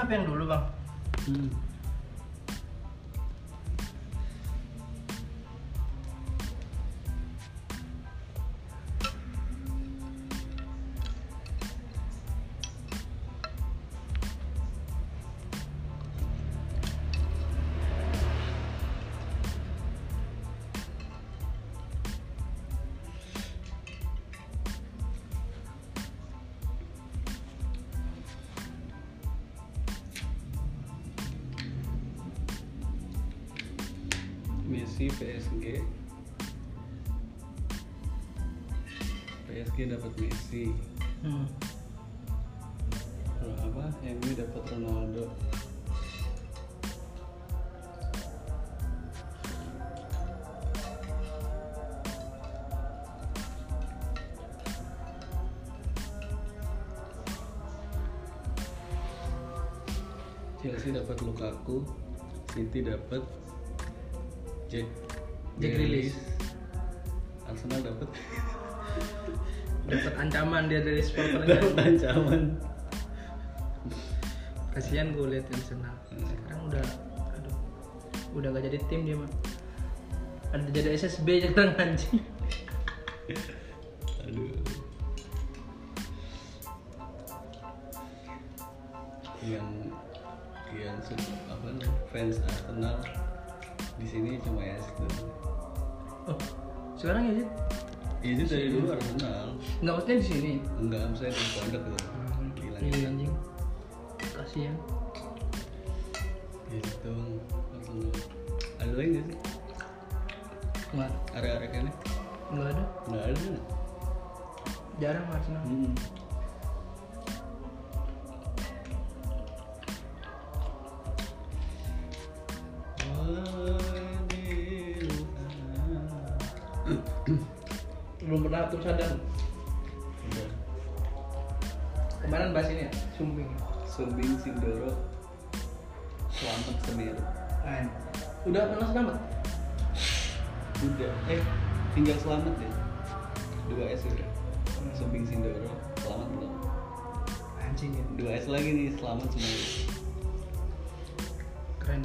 apa yang dulu bang? Hmm. Messi PSG PSG dapat Messi Hmm. Kalau apa MU dapat Ronaldo Chelsea dapat Lukaku City dapat Jack Jack Grealish. Arsenal dapat Dapat ancaman dia dari supporter dapat ancaman Kasihan gue liat yang senang. Sekarang udah, aduh, udah gak jadi tim dia mah. Ada jadi SSB sekarang anjing. Aduh. Yang yang suka apa namanya, fans Arsenal di sini cuma ya itu. Oh, sekarang ya Zid? Itu dari Iya Iya. dulu Arsenal. Nggak maksudnya di sini. Enggak, saya di pondok tuh. Gila Iya anjing. Kasihan. gitu. Arsenal. Ada lagi nggak sih? Nggak, Area-areanya? nggak ada. Nggak ada. kan? Jarang Arsenal. Hmm. Belum pernah tuh sadar. Kemarin bahas ini ya, sumbing. Sumbing Sindoro Selamat Semeru Kan. Udah pernah selamat? Udah, eh tinggal selamat ya Dua S udah Sumbing Sindoro Selamat belum Anjing ya. Dua S lagi nih Selamat Semeru Keren.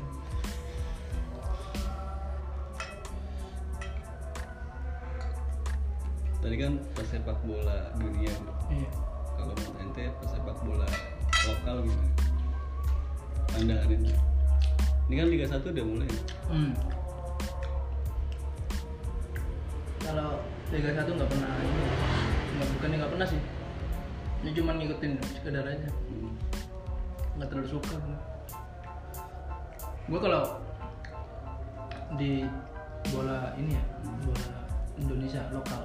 Tadi kan pesepak bola dunia Iya. Kalau menurut ente pesepak bola lokal gitu. gimana? Pandangan ente Ini kan Liga 1 udah mulai ya? Hmm. Kalau Liga 1 nggak pernah ini. Nggak bukan nggak pernah sih. Ini cuma ngikutin sekedar aja. Hmm. Nggak terlalu suka. Gue kalau di bola ini ya, bola Indonesia lokal.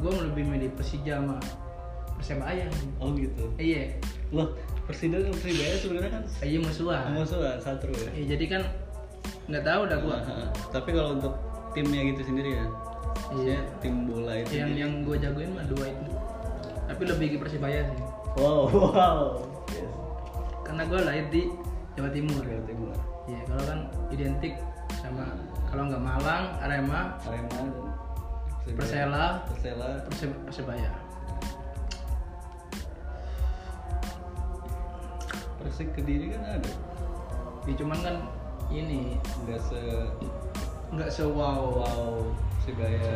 Gue lebih milih Persija sama Persebaya. sih. Oh gitu Eh, Iya, Loh, Persida dan Persibaya sebenarnya kan iya musuhan. musuhan satu ya Eh, jadi kan nggak tahu dah gue. Heeh. Tapi kalau untuk timnya gitu sendiri ya, maksudnya Iya. tim bola itu. yang sendiri. yang gue jagoin mah dua itu tapi lebih ke persebaya sih Wow, Oh, wow. Yes. karena gue lahir di Jawa Timur Jawa Timur, ya kalau kan identik sama kalau nggak Malang Arema Arema dan Persibaya. Persela Persela. Perse- persebaya Persik Kediri kan ada. ya, cuman kan ini Enggak se nggak se Oh, wow wow Persibaya.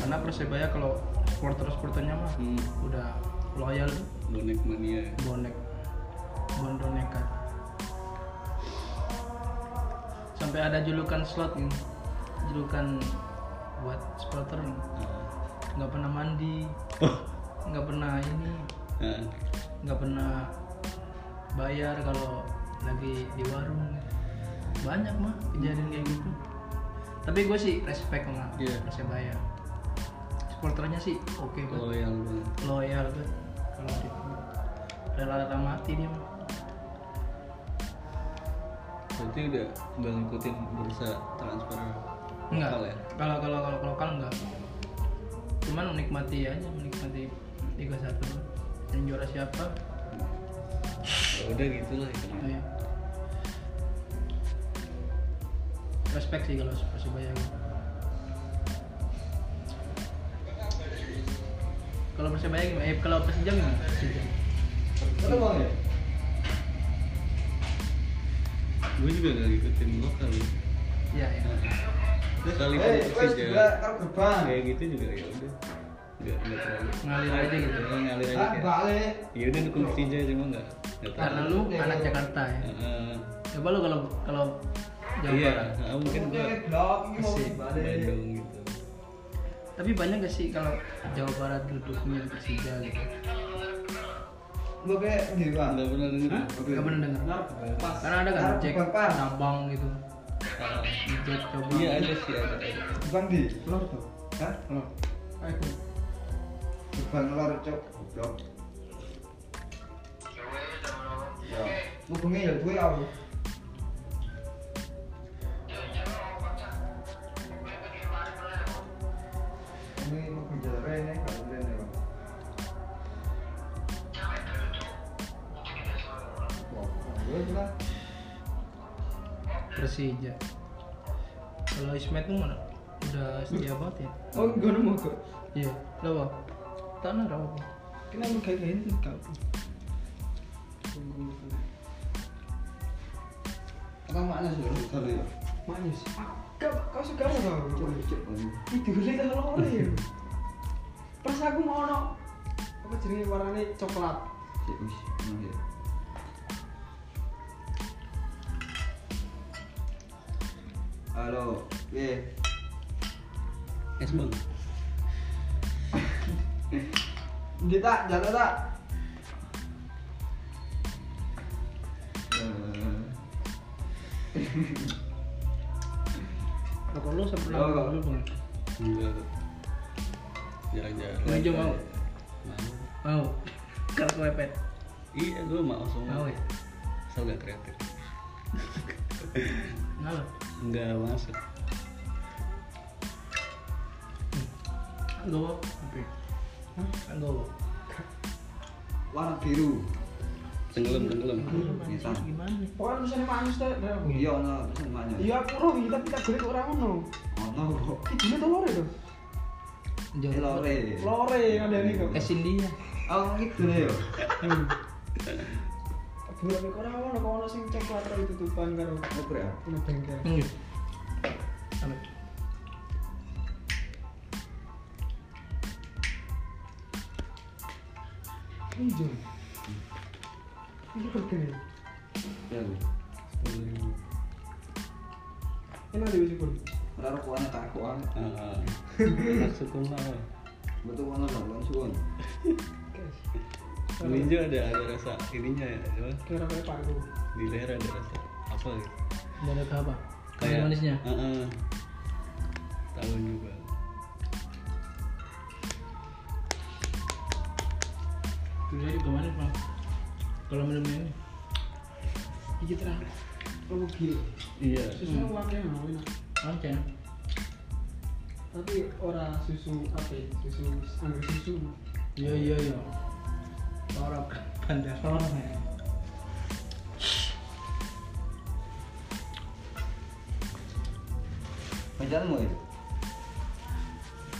karena persebaya kalau supporter supporternya mah Hmm, udah loyal bonek mania. bonek bondonekan sampai ada julukan slot nih julukan buat supporter nih. Ah. nggak pernah mandi Oh. nggak pernah ini Ah. nggak pernah bayar kalau lagi di warung banyak mah kejadian kayak gitu tapi gue sih respect sama Iya. persebaya supporternya sih oke banget Kalau yang bola. loyal banget kalau di rela-rela mati dia mah berarti udah nggak ngikutin bursa transfer enggak lokal ya? kalau kalau kalau kalau lokal enggak cuman menikmati aja menikmati Liga 1 yang juara siapa Ya udah gitulah Oh, iya. Respect sih kalau Persebaya. Kalau Persebaya gimana? Eh, kalau Persija gimana? Persija. Kata bang ya? gue juga gak ngikutin lokal Iya, iya. terus kali Eh, gue juga Persija ntar gerbang kayak gitu juga ya udah nggak nggak terlalu Ngalir aja gitu. Ya, ngalir aja Ah, kayak balik ya udah dukung Persija cuma nggak nggak Karena lu Iya, anak Jakarta ya. Heeh. Coba lu kalau kalau Jawa iya Barat. ah, mungkin gue Oke, blok, ini mau Asik, balik Bandung gitu Tapi banyak gak sih kalau Jawa Barat duduknya Persija gitu? Lu kayak gini bang nggak pernah denger Hah? Gak pernah dengar. Narkoba. Karena ada kan Narkoba, Jack Pak. Cabang gitu. Ah, Jack Cabang. iya ada sih ada ada. Bukan di lor tuh Hah? Lor Ayo. Gerbang lor cok Goblok Ya Hubungnya ya gue apa? Ini mau bicara ini gak boleh nih bang Wah, gue lah Persija. Kalau Ismet tuh mana? Udah setia banget ya? Oh, gue nemu kok Iya. Lo apa? Tanah rawa apa? Kenapa kayak gini kau? Apa makna sudah besar ya? Manis. Kau, kau suka apa kau? Tidurnya tak lor ya. Pas aku mau no, apa jenenge warnanya coklat. Halo, ye. es bang Dia tak, jalan tak. Eh. Lah, Kalau lo sampai Lo, lo. lo dulu bang. enggak jarang-jarang Lo hijau mau? Mau. Mau. Kalau kepepet. iya gue mau semua Mau ya? asal gak kreatif Kenal lo? nggak masuk Kan gowo. Oke. Kan gowo. Warna biru. tenggelam tenggelam Bisa. Gimana nih? Pokoknya misalnya manis tak dari aku. Iya, no, bisa makna. Iya aku roh, tapi tak boleh orang no. Oh, no, bro. Tidurnya tak lor itu. Eh, Jawa lore. Eh, Barat. Lore ada nih kau. Es India. Oh, gitu deh, yo. Tak boleh aku orang no, kau no sing coklat itu tutupan karo Apa ya? no bengkel. Enggak. Sampai. Hijau. Ini bergerak. Ya, gue. sepuluh ribu Enak deh sih Ora rokokane takokan. Ah, maksud gue mau Betul ngono lho, lan suwon. Guys. melinjo ada ada rasa ininya ya apa? Kira kayak paru. di leher ada rasa apa gitu Gak ada apa? Kayak manisnya. Heeh. tahu juga Bisa juga manis bang. Kalau minum ini. Iki terang. Kamu gila. iya Susunya warnanya mau enak. Oke. tapi ora susu apa ya, susu anggur susu Iya iya iya. Orang bandar. telur ya Pacarmu ya?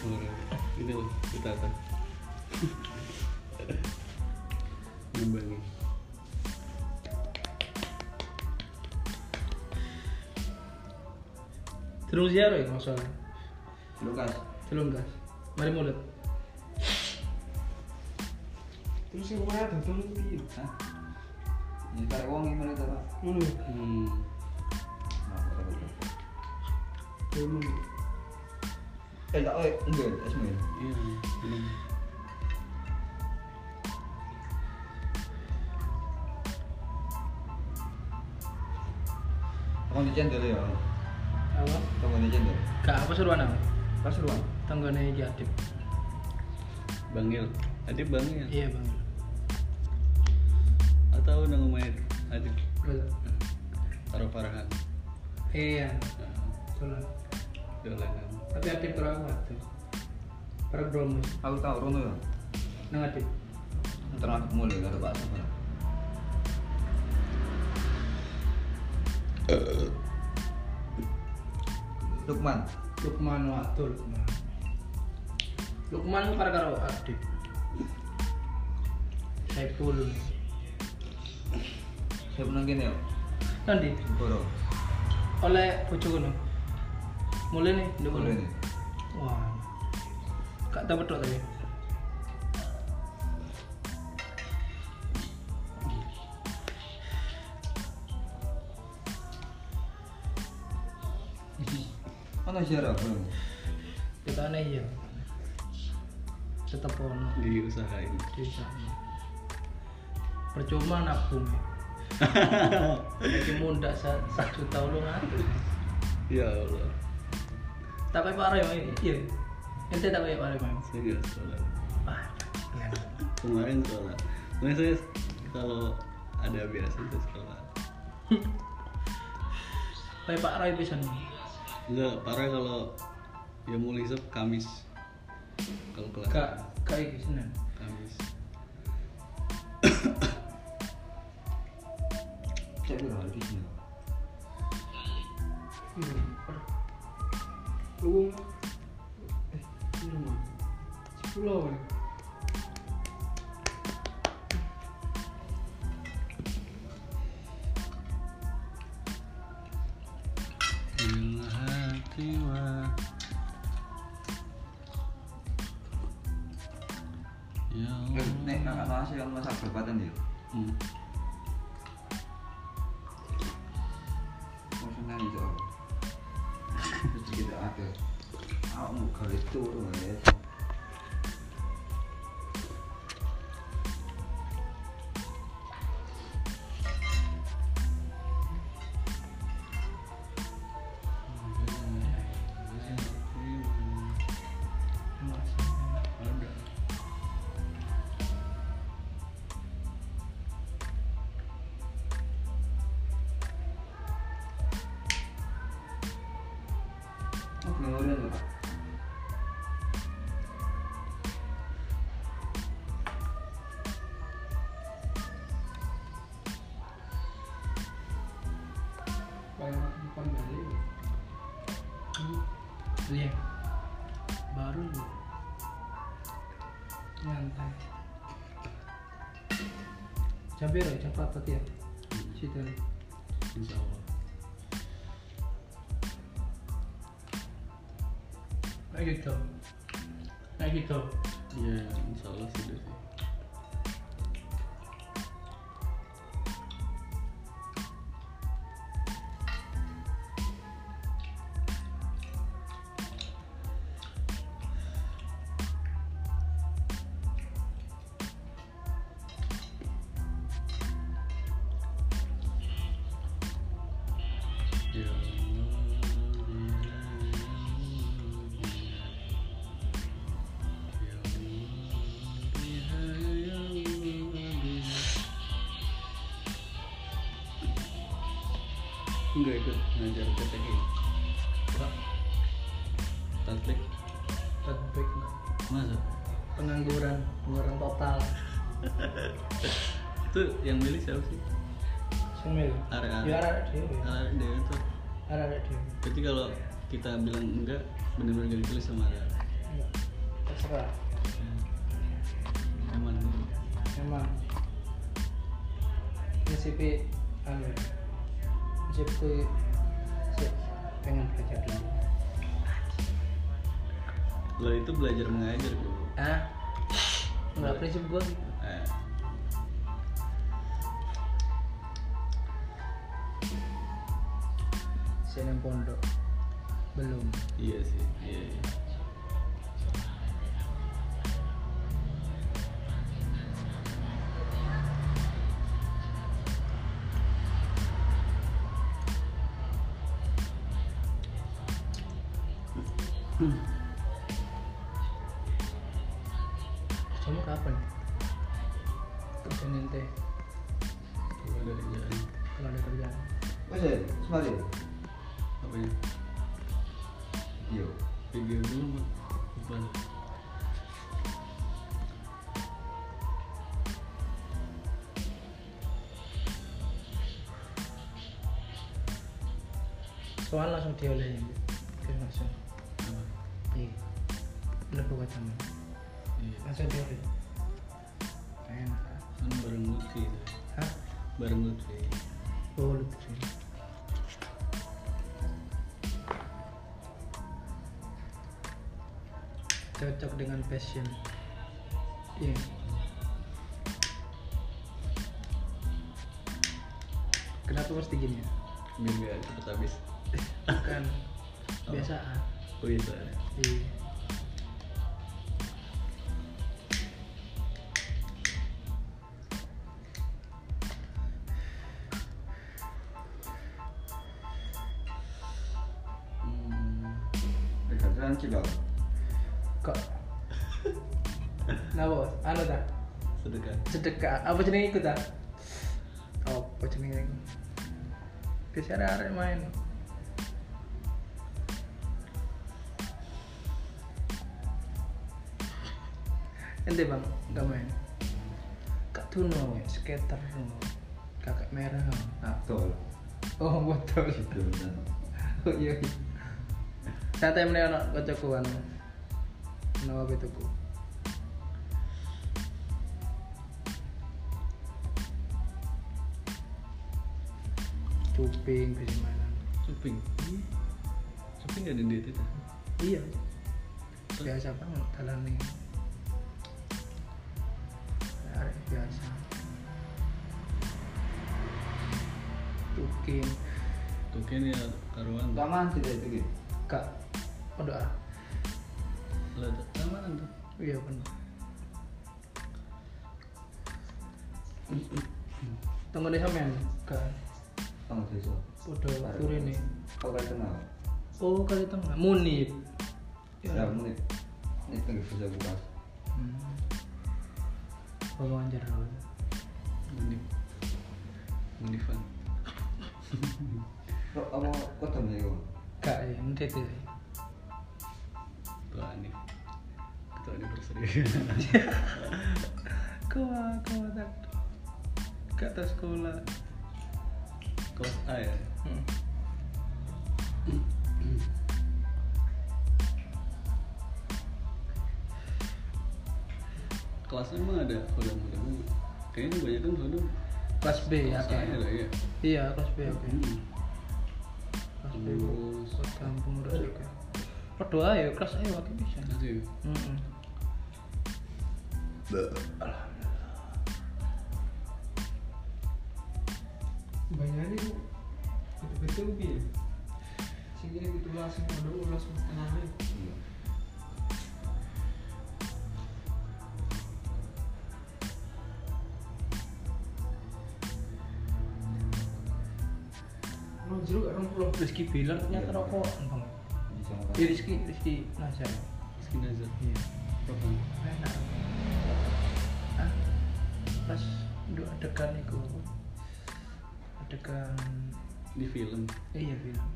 sepuluh ribu itu loh kita akan Nyumbangin. Terus ziarah ya masalah. Lukas. Telung gas. Mari mulut. terus yang kemarin ada telur piye Hah? Ini tarik wong ini mana Pak? ngono ya? hmm. Nah, kok tarik wong. ngono Eh, tak oi, enggak, ya? es mil. iya bener. Aku di cendol ya. Apa? Tunggu di cendol. Kak apa suruhan apa? Pas ruang. Tanggane iki adib. bangil ada bangil Iya bang. atau nang main ada Betul. taruh parahan Iya. Nah, Betul. dolanan Tapi adib kurang waktu. Para bromus. Aku tahu Rono ya. Nang adib. Terang mulai karo Pak Asep. Lukman. Lukman waktu Lukman. Lukman ku para karo adib. Saiful. Siapa nang kene yo? nanti Boro. oleh bojoku nih mulai nih ndek Boro kono. ini. wah gak tau betul tadi Ono siara boro. kita aneh ya tetap ono diusahain bisa percuma nabung ya lagi muda sa- satu tahun lu ngatur ya Allah tapi parah ya Mai. iya ente tak kayak parah Mai. saya nggak sholat ah keren. kemarin sholat kemarin saya kalau ada biasa itu sholat kayak parah itu pisan enggak parah kalau ya mulai sep Kamis kalau kelas kak kak iki seneng Kamis Cek boro iki sini. Iya. Luwung. Eh, ini rumah. Sepuluh kan. Bila hati wa Ya Eh, Allah Nek kakak salah sih kan masak berpatan yo. Hmm. Maksudnya itu. Terus kita ada. Aku mau kali turu ya. Hmm. Ada. Oh, ngene lho. Kayak depan dari. iya baru lu nyantai jam berapa jam empat ya situ nih Insya Allah. kayak gitu kayak gitu Iya, insya Allah sudah sih. Ya Allah, ya Allah. Enggak ikut ngajar TTG Pak, Tatlik take break nggak? Masa? pengangguran pengangguran total Itu yang milih siapa sih? semil Arek-arek. ya arek dewe Anak dia itu arek arek dewe Berarti kalau kita bilang enggak Bener-bener gak ditulis sama ada Iya. terserah Aman emang prinsip anu prinsip ku sih, pengen kerja dulu Lo itu belajar mengajar bro ah nggak prinsip gua gitu. Eh, Saya nang pondok belum Iya sih Iya iya kamu kapan kerja nanti Kalau ada kerjaan kalau ada kerjaan Wes, eh, semari. Apanya? Yo. Video dulu Pak. Lupa soal langsung diolehin oke langsung Apa? iya lebih kacang Iya langsung diolehin enak Kan bareng Lutfi hah Bareng Lutfi Oh, lu kesini. Cocok dengan passion. Iya. Kenapa mesti gini ya? biar nggak cepet habis Bukan Apa? biasaan. oh bisa Iya. Dekat cilok. Kok? Nah, bos, anu tak? sedekah Sedekah. Apa jenenge iku tak? Apa jenenge iku? Biasa arek main. Ente bang, nggak main. Kak Tuno, ya, skater Tuno. kakak merah. Nah, tol. Oh betul. Situ dan Oh iya. Saat temennya ono kocokku anu. Ono apa itu ku? Cuping bisa mainan. shopping shopping nggak ada di itu Iya. Biasa banget dalam ini. Arek biasa. Cuping. tuh kayaknya karuan Taman tidak itu gitu. Kak. Oh doa. lah taman tuh Iya benar. Tunggu deh sampean gak Taman desa. podo turine. Kau kan kenal. Oh, kali tengah Munib. Ya, menit. Ini tengah bisa buka. Hmm. Omongan jero. menip menipan Kok kamu kota nih kau? Gak ya, ndit ya. tuh aneh tuh aneh berseri Gua gua tak. Gak tau sekolah. kelas A ya Hmm. kelasnya emang ada kodam kodam kayaknya banyak kan kodam Kelas B ya kelas A kayaknya. lah ya Iya, kelas B oke. Hmm. Kelas B. Terus. Kota kampung Rasika. Berdoa ya, kelas A waktu bisa. Hmm. Kelas ya Heeh. Bayangin lu betul-betul piye? Sing ini gitu ulas sing ono ulas tenane. Iya. Ono jeruk gak rong pulau. Rizky bilang ternyata rokok. Bang. Bisa Iya, Rizky, Rizky Nazar. skin aja Iya. Kapan? Enak. Ah, pas untuk adegan itu, adegan di film iya film,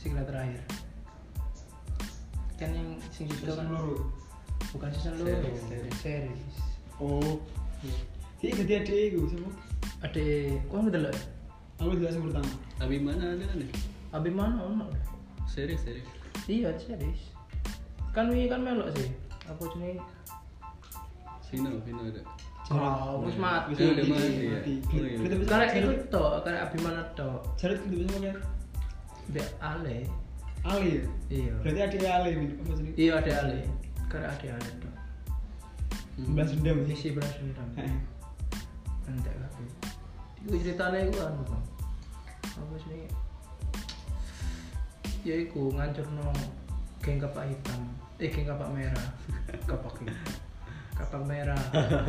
Sigla terakhir. Kan yang sing itu kan Season loro. bukan season lu, Series, series. series. series. Oh. Iki dadi adik iku sapa? Ada, kau nggak delok? Aku jelas yang pertama. tapi mana ada kan ya Abi mana ono? serius serius Iya series. Kan wi kan melok sih. Apa jenis? Vino Vino ada Oh, wis mati. Eh, udah mati ya? Mati. Oh, iya. Kita bisa Karena Jared- itu toh, karena Abi mana toh? Jared kita bisa pakai Biar Ale. Ali. ya? Iya. Berarti adik Ali ini apa sih? Iya ada Ale. Karena ada Ale toh. Hmm. Balas dendam ya. Isi beras dendam. Heeh. Entek kabeh. Iku ceritanya iku anu Bang. Apa sih? Ya iku ngancurno geng kapak hitam. Eh geng kapak merah. Kapak hitam. Kapak merah.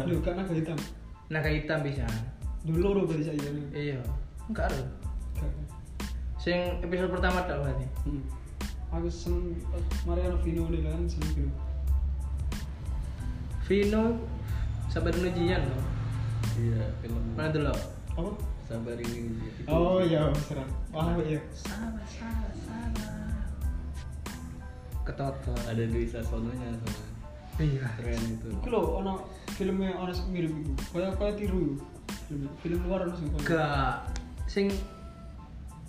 Lu kan aku hitam. Naga hitam bisa. Lu loro berarti saya ini. Iya. Enggak ada. Sing episode pertama tak berarti. Hmm. Aku seneng Mariano Vino ini kan seneng Vino. Vino sampai dulu jian loh. iya film Mana dulu? Apa? sabar ini dia. Itu. Oh iya, serang. Paham ya. Sabar, sabar, sabar. Ketoto. ada Dwi Sasononya sama Iya. keren itu Iku lho ono filmnya ono sing mirip iku. Kaya kaya tiru. Film, film luar ono sing kaya. Gak. Sing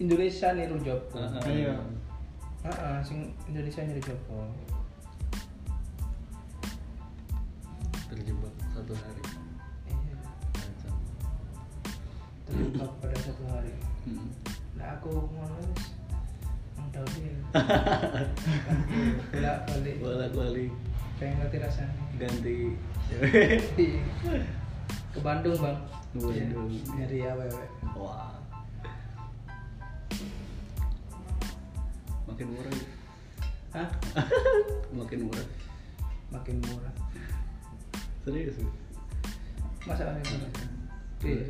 Indonesia niru Joko. Ah, ah. Iya. Heeh, sing Indonesia niru Joko. terjebak satu hari Iya. Kacau. lengkap pada satu hari Hmm. lah aku ngono wis Kan nang dawil bolak balik Bolak-balik pengen ngerti rasanya ganti ke Bandung bang Ke Bandung. Ya, nyari awewe Wah. Makin murah. ya. hah Makin murah. makin murah Serius. ya? masa aneh banget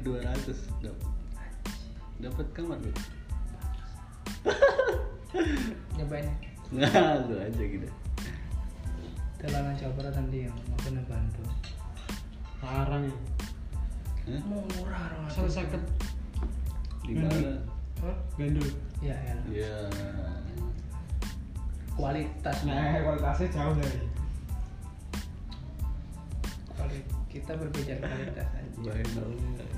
Dua- Iya. Iya. 200 dapat. Dapat kamar lu. nyobain ya. Nah, lu aja gitu. Telanan Jawa Barat nanti yang mau ke Bandung Larang ya. Hah? murah orang Satu sakit Di Hmm. mana? gandul. ya elah. Ya. kualitas Nah, kualitasnya jauh dari. Kuali- kita berbeda kualitas aja Baik banget.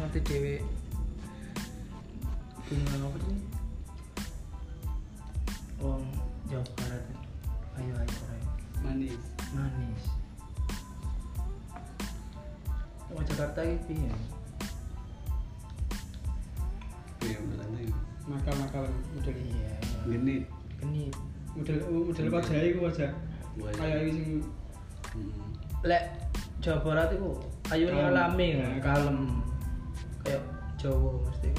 nanti cewek punya apa sih Wong Jawa Barat ya. ayo ayo ayo Manis. manis Wong Jakarta ini piye Iya, berlantai. Nakal-nakal model ini. iya Genit. ini Model model wajahnya itu wajah. Wajah. Kayak ini sing Hmm. lek Jawa Barat itu ayo Kalem. alami Ya, kalem kayak Jawa mesti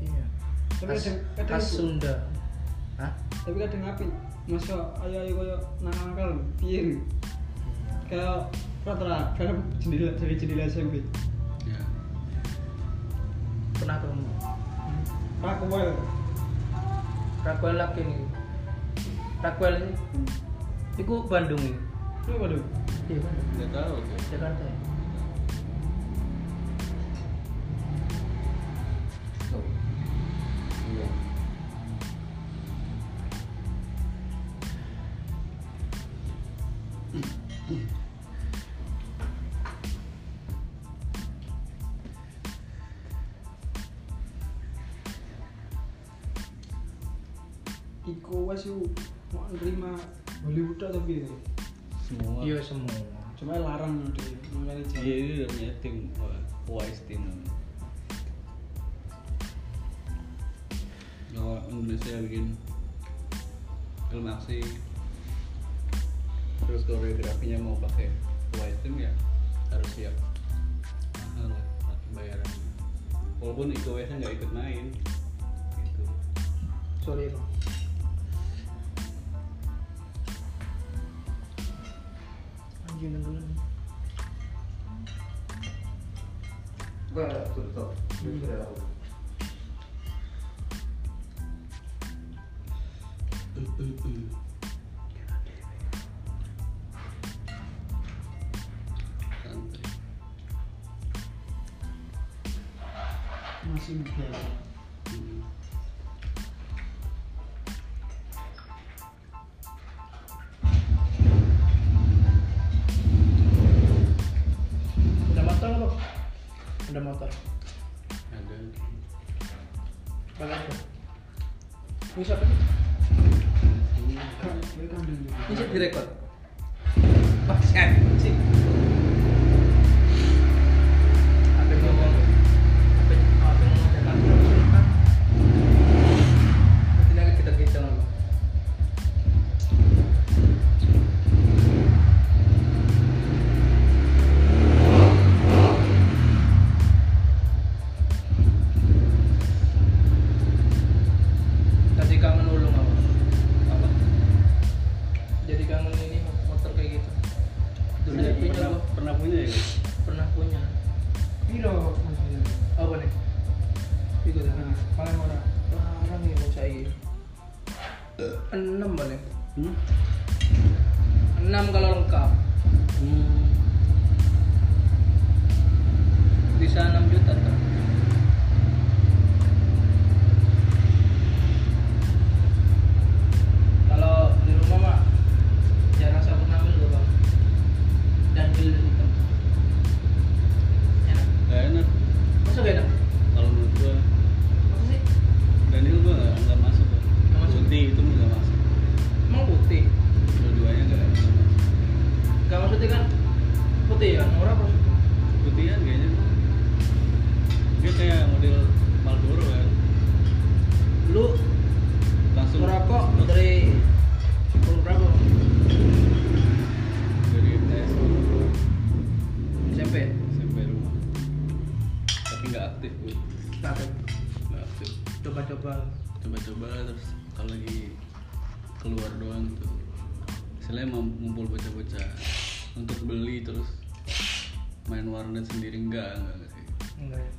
iya Tapi khas, kadang- kadang khas itu- Sunda Hah? tapi kadang api. Masa ayo ayo koyo nakal-nakal piye nih? Kayak rata-rata karena jendela dari jendela SMP. Ya. pernah ketemu Rakwel. Rakwel lagi nih Rakwel ini itu Bandung ini Lu apa dong? iya Bandung Enggak tahu tuh. Jakarta ya Iya. Iku wes yuk mau nerima Hollywood atau piye? Semua. iya semua Cuma larang deh, makanya Iya, jauh. ini udah punya tim. Wah, Wise team namanya. Kalau Indonesia bikin film aksi terus koreografinya mau pakai wise team ya harus siap mahal lah bayaran walaupun Iko Uwais nya nggak ikut main gitu sorry bang anjing dulu Gua ada tutup. Gua ada tutup. santai Masih biasa. Hmm. udah motor bang udah motor ada Bangat ya. Ini siapa nih? Kayak kandang dulu. Ini siapa direkod? eh, Pas anjing. Apa yang ngomong? Apa yang apa yang ngomong dengan kita? Nanti lagi kita kita ngomong. Tadi kangen ulung apa? Apa? Jadi kangen ini motor kayak gitu. dulu Saya punya pernah, gua. pernah punya ya Guys? Pernah punya. Piro maksudnya? Apa nih? Ikut Nah, tangan. paling ora. Larang ya Hmm. bocah ini. Enam paling. Hmm? Enam kalau lengkap. Hmm, Bisa enam juta tuh. Kalau di rumah mah jarang saya pernah ambil gua, bang. Dan bil hitam. Enak. Nggak enak Masuk gak enak? kalau menurut gua Apa sih? Daniel gua nggak nggak masuk kan Nggak masuk. Putih itu nggak masuk Emang putih. dua-duanya nggak nggak masuk Gak maksudnya kan putih kan? Orang apa ya? sih? putihan kayaknya kan. ya? bola terus kalau lagi keluar doang tuh istilahnya mau ngumpul bocah-bocah untuk beli terus main warnet sendiri enggak enggak, enggak sih enggak ya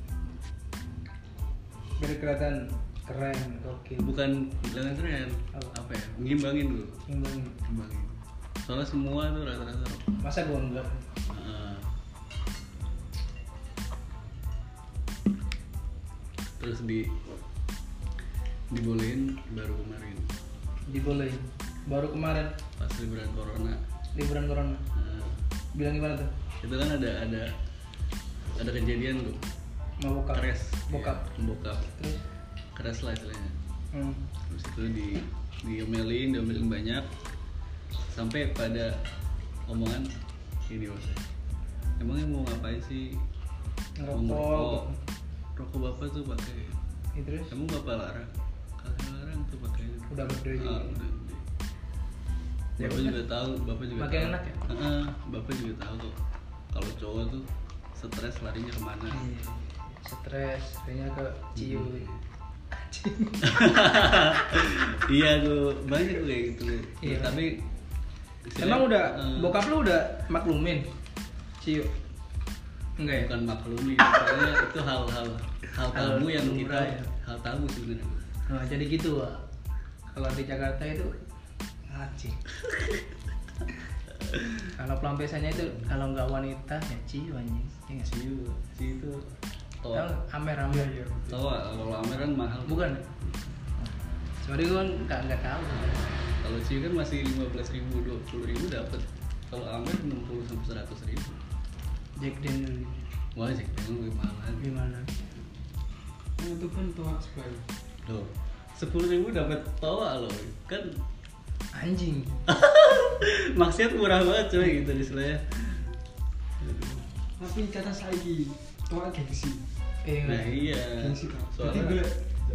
biar kelihatan keren gokil bukan bilang keren Apa? apa ya ngimbangin dulu Imbang. ngimbangin soalnya semua tuh rata-rata masa gua enggak eh, terus di dibolehin baru kemarin dibolehin baru kemarin pas liburan corona liburan corona Eh, bilang gimana tuh itu kan ada ada ada kejadian tuh mau bokap keras bokap Iya, bokap terus keras lah istilahnya hmm. terus itu di diomelin diomelin banyak sampai pada omongan ini maksudnya emangnya mau ngapain sih Mau ngerokok rokok bapak tuh pakai Ya, terus emang bapak larang kagak larang tuh pakai Udah gede Ah, juga. udah gede. Ya bapak udah. juga tahu bapak juga Makin tahu. enak ya? Heeh, bapak juga tahu kok kalau cowok tuh stres larinya kemana Iya. stres kayaknya ke ciuy iya tuh banyak tuh kayak gitu Iya. tapi emang udah Eh, bokap lu udah maklumin ciuy enggak ya bukan maklumi soalnya itu hal-hal hal Hal tabu yang kita lumrah ya. hal tabu sebenarnya Nah, jadi gitu Wak. Kalau di Jakarta itu ngaji. kalau pelampiasannya itu kalau nggak wanita ya ciu anjing. Ya nggak sih? si si itu toa Tahu amer-amer. toa kalau amer kan mahal Bukan. Sorry gue nggak nggak tahu. kalau si kan masih lima belas ribu dua puluh ribu dapat kalau amer enam puluh sampai seratus ribu Jack Daniel wah sih pengen lebih mahal lagi gimana? itu kan tua sebelah loh sepuluh ribu dapat toa loh kan Anjing. maksiat murah banget coy gitu istilahnya tapi kata saiki tua gengsi Eh, nah iya gengsi tau jadi soalnya gue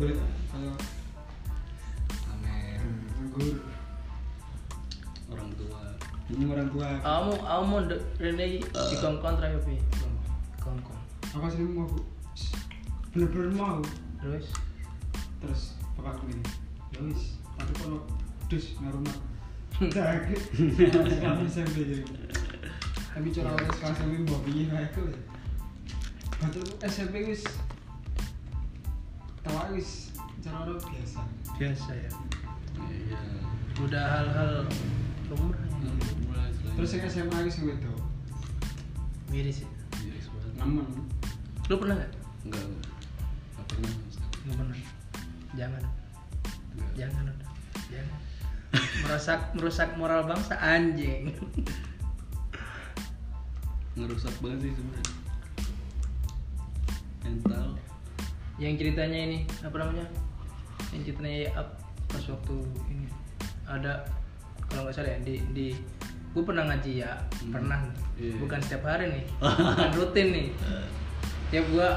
boleh kalau amer gue orang tua ini orang tua Kamu kamu de- Rene di kongkong terakhir pi. Kongkong. aku sering mau bener-bener mau Terus terus papaku ini ya wis aku kalau dus ngarumah sakit kamu SMP jadi ya. tapi cara orang sekarang SMP mau piye kayak aku ya. Batu SMP wis tawa wis cara orang biasa biasa ya. iya Udah hal-hal lumrah ya. Murah istilahnya. terus ya? yang SMA wis yang itu Miris ya. Miris Iya, banget. nemen Lu pernah nggak? Enggak, enggak pernah. nggak pernah jangan Iya. Enggak. jangan udah jangan merusak merusak moral bangsa anjing Ngerusak banget sih sebenarnya. Mental. yang ceritanya ini apa namanya yang ceritanya ya up pas waktu ini ada kalau nggak salah ya di di gue pernah ngaji ya Hmm. pernah Iya. bukan setiap hari nih bukan rutin nih Eh, tiap gue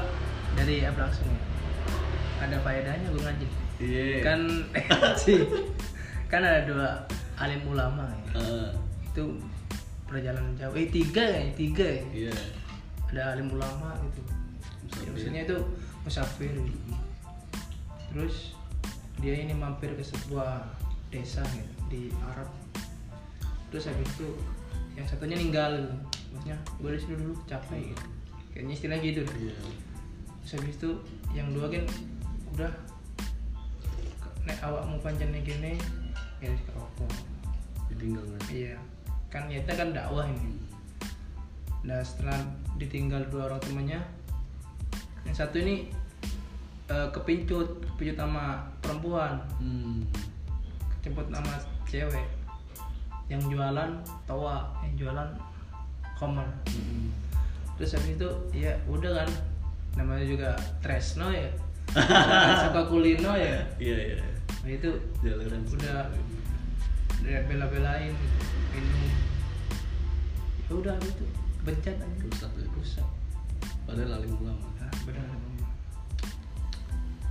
dari up langsung ya. ada faedahnya gue ngaji Iya. kan sih kan ada dua alim ulama ya Eh, itu perjalanan jauh eh tiga ya tiga ya Iya. ada alim ulama gitu Musafir. Ya, maksudnya itu musafir gitu. terus dia ini mampir ke sebuah desa gitu, di Arab terus habis itu yang satunya ninggal maksudnya gue disuruh dulu capek gitu kayaknya istilahnya gitu deh. Iya. terus habis itu yang dua kan udah nek awakmu pancen gini ya rokok Ditinggal nggak? Iya, kan niatnya kan dakwah ini. Nah setelah ditinggal dua orang temannya, yang satu ini eh, kepincut, kepincut sama perempuan, Hmm. kejemput sama cewek. Yang jualan toa, yang jualan komer. Mm-mm. Terus habis itu ya udah kan, namanya juga Tresno ya, suka kulino ya. Iya iya. Nah, itu Jalan. Udah. dia bela-belain gitu, minum. Ya udah gitu, bencat aja. Rusak ya. rusak Padahal alim ulama. Hah, benar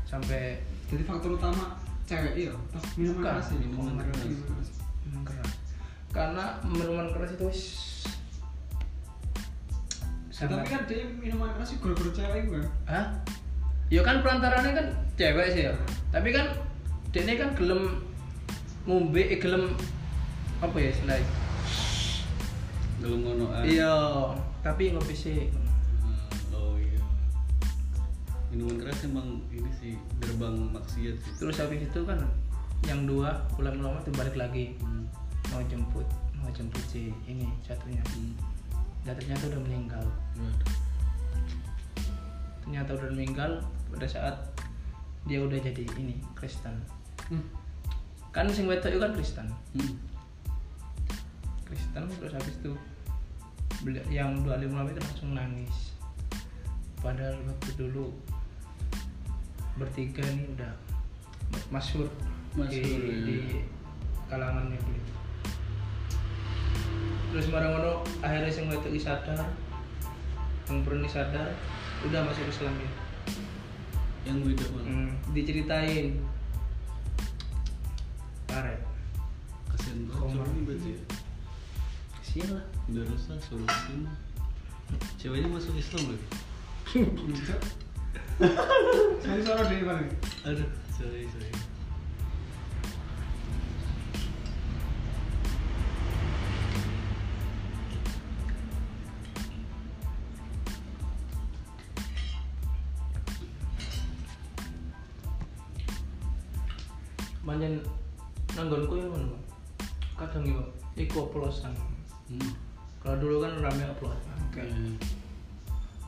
sampai jadi faktor utama cewek iya tas Bukan, minuman keras ya minuman keras. Minuman keras. minuman keras karena minuman keras itu wis Ya, tapi kan dia minuman keras juga gara-gara cewek gue hah ya kan perantarannya kan cewek sih ya tapi kan dene kan gelem ngombe eh, gelem apa ya selain belum ngono ah. iya tapi ngopi sih Ah, oh iya minuman keras emang ini sih gerbang maksiat sih terus habis itu kan yang dua pulang lama tuh balik lagi Hmm. mau jemput mau jemput si ini satunya Hmm. dan ternyata udah meninggal Waduh. ternyata udah meninggal pada saat dia udah jadi ini Kristen Hmm. kan sing wetok itu kan Kristen Hmm. Kristen terus habis itu beli- yang 25 lama itu langsung nangis padahal waktu dulu bertiga nih udah masyur, di, Masyhur, ya. di kalangannya gitu terus marang-marang akhirnya sing wetok iki sadar yang berani sadar udah masuk Islam ya yang beda malah Hmm, diceritain karet kasihan banget Komar. cowoknya berarti ya. kesian lah udah rusak suruh kesini ceweknya masuk Islam lagi Cok. Sorry suara dia paling. aduh sorry sorry Manjen nanggonku yang mana Bang? Kadang yo iku oplosan. hmm. Kalau dulu kan rame oplosan. Eh,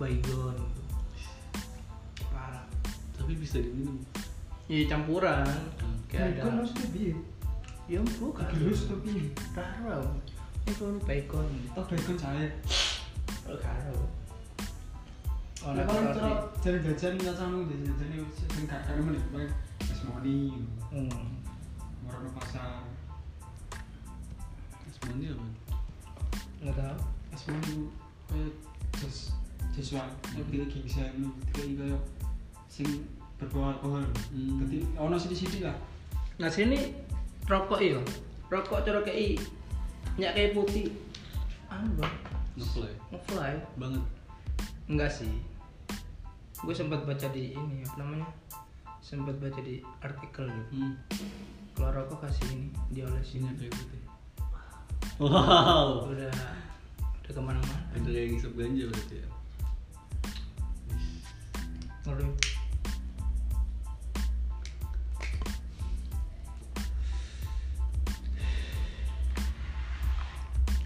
Baygon. gitu. Parah. tapi bisa diminum Iya campuran. Hmm. Kayak Kan ada. harus lebih. Ya bukan. Terus tapi Karo. Iku ono bacon. oh bacon saya. Oh karo. Oh, Nah, nek kalau roti. cara jalan jajan nggak sama jajan jajan itu sering gak karena menit paling es moni, Hmm. merono pasar, Ismani apa? Nggak tahu. es moni itu kayak jas jasual, tapi lagi bisa ini ketika ini kayak sing berbau alkohol. Hmm. Jadi ono sedikit lah. Nah sini rokok yo. Rokok cara kayak nyak kayak putih. Anu bang, Ngefly ngefly. banget Enggak sih. Gue sempat baca di ini apa namanya? Sempat baca di artikel gitu. hmm. Kalau rokok kasih ini isinya diolesin kayak putih wow udah udah kemana-mana ada yang ngisap ganja berarti ya ngeri.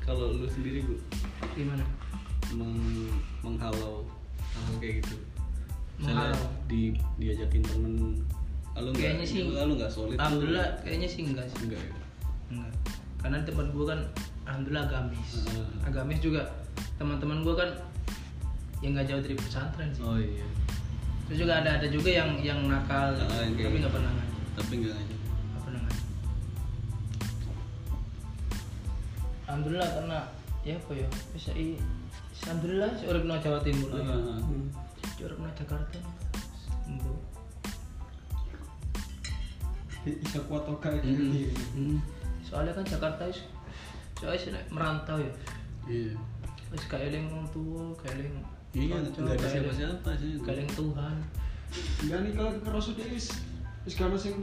kalau lu sendiri bu Gimana? meng menghalau hal kayak gitu misalnya Menghalau. di diajakin temen ah, lu nggak Kayaknya sih. lu nggak solid lu- Alhamdulillah kayaknya sih enggak sih. enggak ya Enggak. Karena di tempat gue kan alhamdulillah agamis. Heeh. Agamis juga teman-teman gue kan yang nggak jauh dari pesantren sih. oh iya Terus juga ada ada juga yang yang nakal, Ah, yang kayak tapi nggak gitu. pernah ngaji. tapi enggak aja Nggak pernah ngaji. Alhamdulillah karena ya apa ya bisa i bisa alhamdulillah sih orang no Jawa Timur ya. Ah, Orang no Jakarta. Embo. Bisa kuat toga Hmm. Mm-mm. gitu. Mm. Soalnya kan Jakarta is soalnya sih nek merantau ya. iya Wis gak eling wong tuwa, gak eling iya kanca, nggak ada gak eling- siapa-siapa sih gak eling Tuhan. Enggak nih Ya, kalau kerosot itu is is karena sing.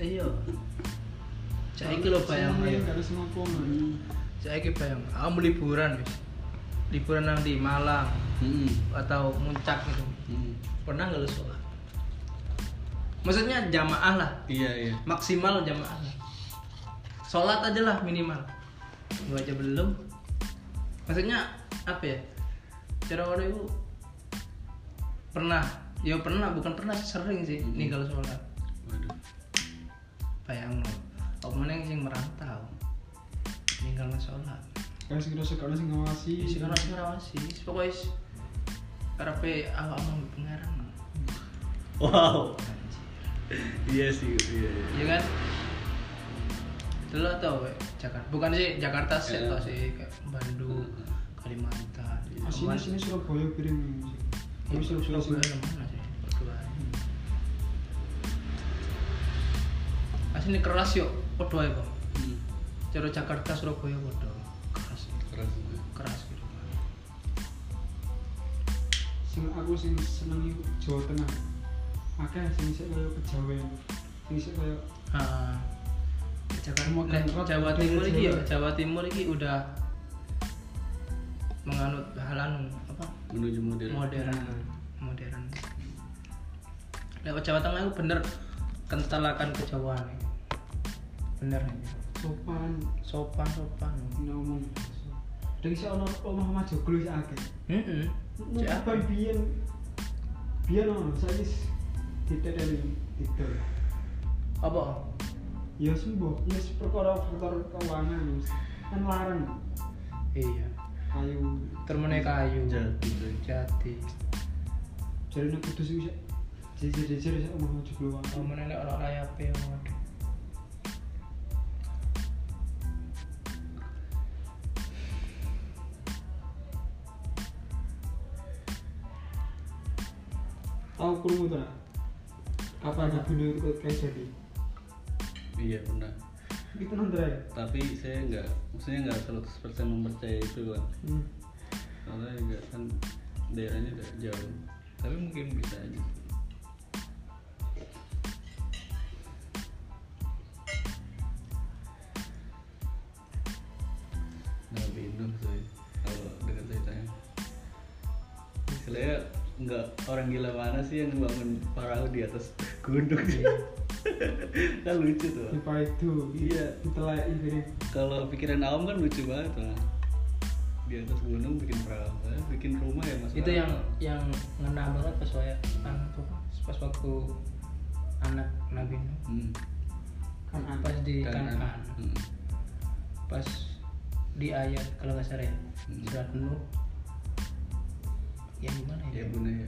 Iya. Saiki lho bayang ayo. Hmm. Karena semua Hmm. pom. Saiki bayang, aku mau liburan wis. Liburan nang di Malang Mm-mm. atau Muncak gitu. Mm. Pernah nggak lu sholat? Maksudnya jamaah lah, iya iya maksimal jamaah lah. Sholat aja lah minimal. Gua aja belum. Maksudnya apa ya? Cara orang itu pernah, ya pernah, bukan pernah sering sih Mhm. ninggal sholat. waduh Bayang lo, apa yang sing merantau ninggal nggak sholat. Kalau sing kerosot kalau sing ngawasi. Isi Iya, karena sing ngawasi, pokoknya is karepe awak mau pengarang. wow iya sih iya, iya. Iya kan? Dulu tau Jakarta, bukan sih Jakarta sih Iya. tau sih kayak Bandung, Kalimantan. Asini Cuman- sini Surabaya piring. Ini Iya, Surabaya sing Surabaya mana sih? Berdoa. Asini keras yuk, podo ae, Bang. Mm. Cara Jakarta Surabaya podo. Keras, keras juga keras gitu. sing aku sing seneng iku Jawa Tengah. Akeh sing sik koyo kejawen. Sing sik koyo Ah, Jakarta, Makan leh, roti, Jawa makan Timur roti ini ya, Jawa. Jawa Timur ini udah menganut hal anu apa menuju modern Hmm. modern, modern. Lewat Jawa Tengah itu bener kental akan kejauhan, bener ya. sopan sopan sopan. ngomong dan bisa ono omah majoglo sih akeh Heeh. Cek apa? Apa biyen biyen ono saiki diteteli titel. Apa? Ya sembuh, wis perkara faktor keuangan wis. kan larang Iya. kayu Termene kayu. jati coy. Jati. jare nek kudus iku sik jejer-jejer sik omah majoglo wae. Termene nek ora layape waduh. Tau krungu ta? Kapan aku dulu ikut kayak jadi? iya benar Itu nanti ya. tapi saya nggak maksudnya nggak 100% mempercayai itu kan Hmm. soalnya juga kan daerahnya udah jauh tapi mungkin bisa aja nah bingung sih kalau dengar ceritanya istilahnya nggak orang gila mana sih yang bangun perahu di atas gunung kan lucu tuh Tipa itu. Iya. Ditelai ini. kalau pikiran awam kan lucu banget lah di atas gunung bikin perahu eh, bikin rumah ya mas itu yang yang ngena banget pas saya kan tuh, pas waktu anak Nabi Nuh hmm. Kan apa? pas di Kanan. Kanaan Hmm. pas di ayat kalau nggak salah ya Hmm. surat Nuh ya gimana ya ya, bunda ya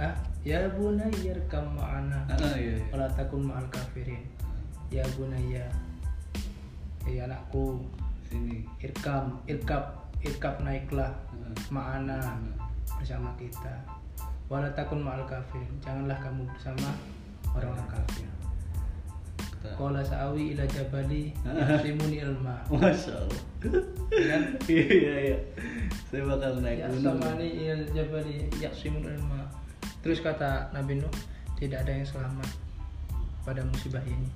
ah ya bunayya rekam ma'ana ah, ah, iya, iya. wala takun ma'al kafirin ya bunayya ya anakku sini irkam irkab irkab naiklah Ah, ma'ana ah. bersama kita wala takun ma'al kafir janganlah kamu bersama orang-orang kafir iya. Kita- qala sa'awi ila jabali yuslimuni ilma masya allah iya iya iya saya bakal naik ya gunung samani ila jabali yuslimuni ilma terus kata Nabi Nuh tidak ada yang selamat pada musibah ini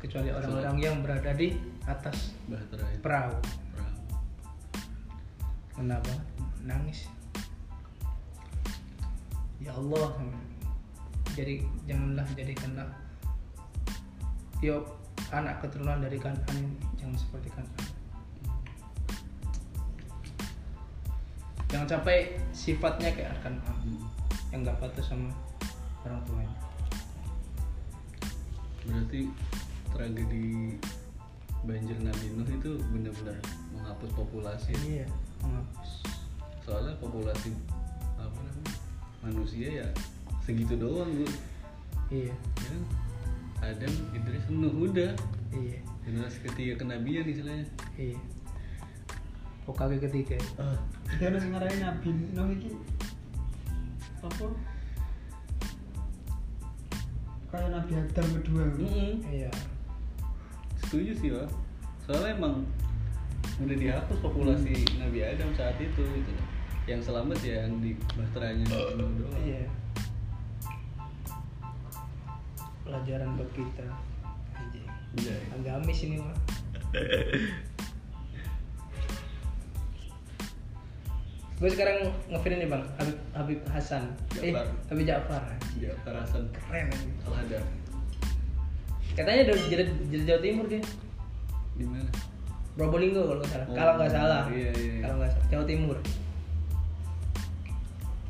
kecuali orang-orang yang berada di atas bahtera itu perahu perahu kenapa nangis ya Allah jadi janganlah jadikanlah yo anak keturunan dari kanan ini jangan seperti kanan jangan sampai sifatnya kayak kanan Hmm. yang nggak patuh sama orang tuanya berarti tragedi banjir Nabi Nuh itu benar-benar menghapus populasi iya menghapus soalnya populasi apa namanya manusia ya segitu doang gue iya ya kan? Adam Idris Nuh udah iya generasi ketiga kenabian istilahnya iya Hokage ketiga Dia harus ngarai nabi Nuh iki apa? Kayak nabi Adam kedua. Mm-mm. iya setuju sih lah soalnya emang udah dihapus populasi Hmm. Nabi Adam saat itu gitu loh. yang selamat ya yang di bahteranya Nabi Nuh doang Iya. Pelajaran buat kita. Anjing. Udah, ya. Agamis ini mah. Gue sekarang ngefilin nih bang Habib, Habib Hasan. Ja'far. Eh, Habib Ja'far. ya kerasan Keren. anjing. kalau ada Katanya dari jadi jadi Jawa Timur dia. di mana Probolinggo kalau nggak salah. Oh, kalau nggak salah. iya, iya, iya. Kalau nggak salah. Jawa Timur.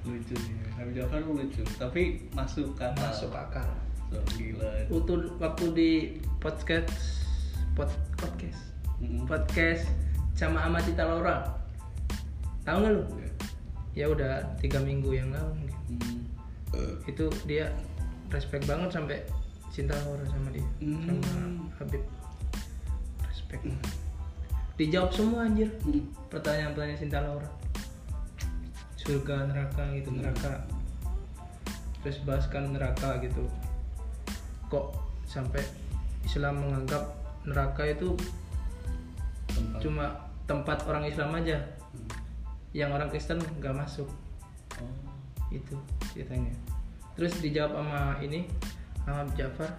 lucu sih ya. Nabi Jafar emang lucu tapi masuk kata Masuk akal. so, gila Waktu waktu di podcast pod, podcast Mm-mm. podcast sama sama Cita Laura tahu nggak lu ya udah tiga minggu yang lalu mungkin. Hmm. itu dia respect banget sampai cinta Laura sama dia Hmm. sama Habib respect dijawab semua anjir Hmm. pertanyaan-pertanyaan cinta Laura surga neraka gitu neraka terus bahaskan neraka gitu kok sampai Islam menganggap neraka itu Tempat. cuma tempat orang Islam aja Hmm. yang orang Kristen nggak masuk gitu Oh. itu ceritanya terus dijawab sama ini sama Jafar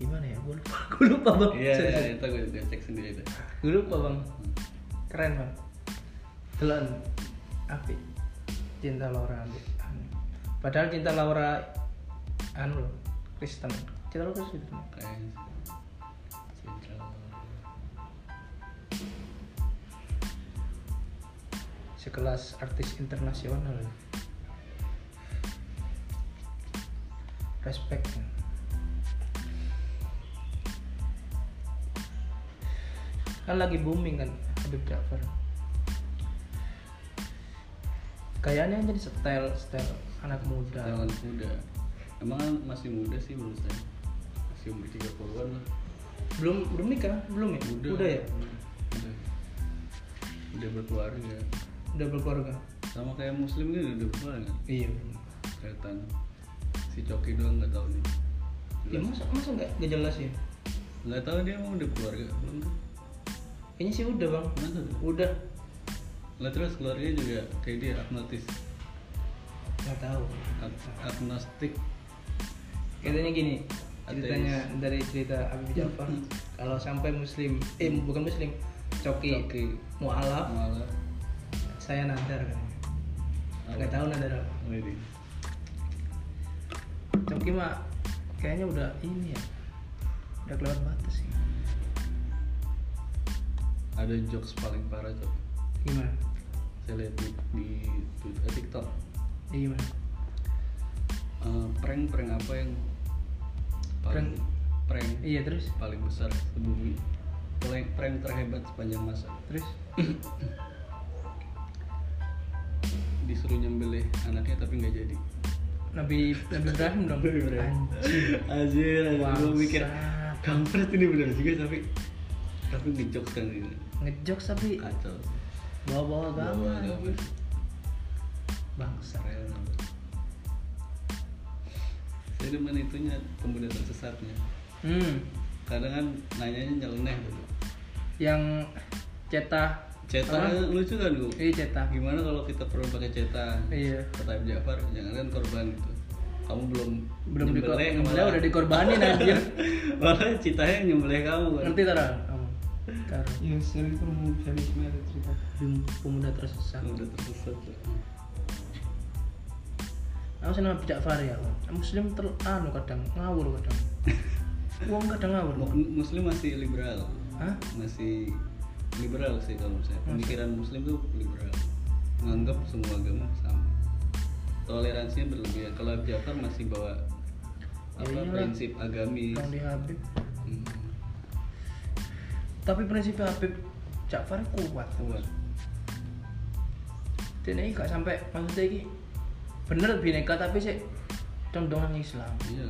gimana ya gue lupa gue lupa bang Iya, Sorry, iya, sorry. itu gue gue cek sendiri itu. gue lupa bang keren bang telan api cinta Laura ambil padahal cinta Laura anu loh Kristen cinta Laura Kristen gitu, Keren. Central. sekelas artis internasional respect kan lagi booming kan Habib Ja'far kayaknya jadi style style anak muda Jangan muda. Emang kan masih muda sih menurut saya. Masih umur 30-an lah. belum belum nikah belum ya Muda. udah ya Udah. Udah berkeluarga. udah berkeluarga Sama kayak muslim gitu udah berkeluarga. iya Kelihatan. Si Coki doang nggak tahu nih. ya Iya, masa masa nggak nggak jelas ya Nggak tahu dia emang udah keluarga belum kan? kayaknya sih udah bang Masa tuh? udah Lah terus keluarganya juga kayak dia agnostis. nggak tahu Ag- agnostik. Katanya gini, Ateis. ceritanya dari cerita Habib Ja'far Hmm. kalau sampai muslim, eh bukan muslim, coki, Coki. Hmm. mualaf, Malah. saya nadar kan. Gak tahu nadar apa. Ini. Coki mah kayaknya udah ini ya. Udah kelewat batas sih. Ada jokes paling parah tuh. Gimana? Saya lihat di, di Twitter, eh, TikTok. Ya gimana? Eh, prank prank apa yang paling prank, Iya terus, paling besar sebumi prank, prank terhebat sepanjang masa terus. disuruh nyembelih anaknya tapi nggak jadi Nabi Nabi Ibrahim dong. Nabi Ibrahim. Anjing. anjir anjir gue mikir Bangsat. kampret ini bener juga tapi tapi ngejokes kan ini Ngejokes tapi kacau bawa-bawa Bawa agama. agama. Bangsa. Keren banget. saya demen itunya pemuda tersesatnya Hmm. kadang kan nanyanya nyeleneh gitu Yang cetah cetaknya lucu kan gue Iya cetah. gimana kalau kita perlu pakai cetak Iya. kata Ibn Jafar jangan kan korban gitu kamu belum belum nyembelih, dikorbanin malah- udah dikorbanin anjir malah citanya nyembelih kamu kan ngerti tara kamu tara Ya, sering perlu feminisme ada cerita. Bim- pemuda tersesat udah tersesat tuh. aku senang Habib Ja'far ya muslim ter anu kadang ngawur kadang uang kadang ngawur loh Mu- muslim masih liberal hah masih liberal sih kalau misalnya pemikiran muslim tuh liberal menganggap semua agama sama toleransinya berlebihan kalau Ibn Jafar masih bawa Ya apa iyalah. prinsip agamis Bang di Habib Hmm, tapi prinsip Habib Ja'far kuat kuat dan ini gak sampai maksudnya ini bener bineka tapi sih condongan Islam iya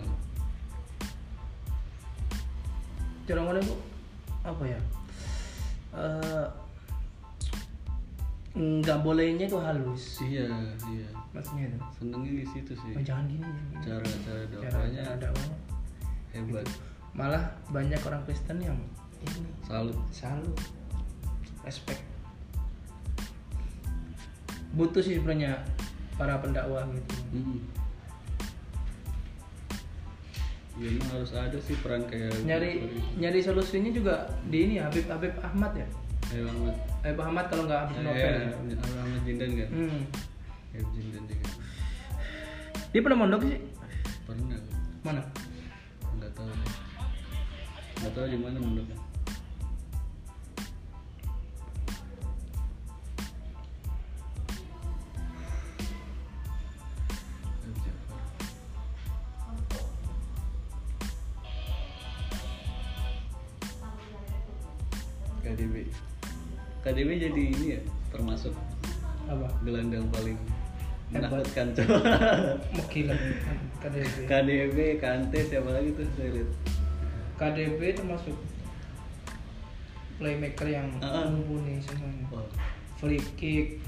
jarang oleh kok apa ya Eh, nggak bolehnya itu halus iya iya maksudnya itu senengnya di situ sih Oh, jangan gini, jangan gini. cara-cara Cara- dakwahnya cara dakwahnya. hebat gitu. Malah banyak orang Kristen yang ini salut selalu respect. Butuh sih sebenarnya para pendakwah gitu. Mm. ya emang harus ada sih peran kayak Nyari nyari solusinya juga di ini Habib Habib Ahmad ya. Ayo Ahmad Habib Ahmad kalau nggak Habib Ayo Nobel. Ahmad Jindan kan Hmm. Ayo Jindan juga Dia pernah mondok sih? pernah kan? Mana? nggak tahu deh. nggak tahu di mana menurutnya Ayo, Jafar. KDB KDB jadi ini ya termasuk Apa? gelandang paling Hebat. menakutkan coba Megila. KDB. KDB, Kante, siapa lagi tuh saya lihat KDB termasuk playmaker yang Ah, ah. mumpuni semuanya. Wah. Hmm. Free kick,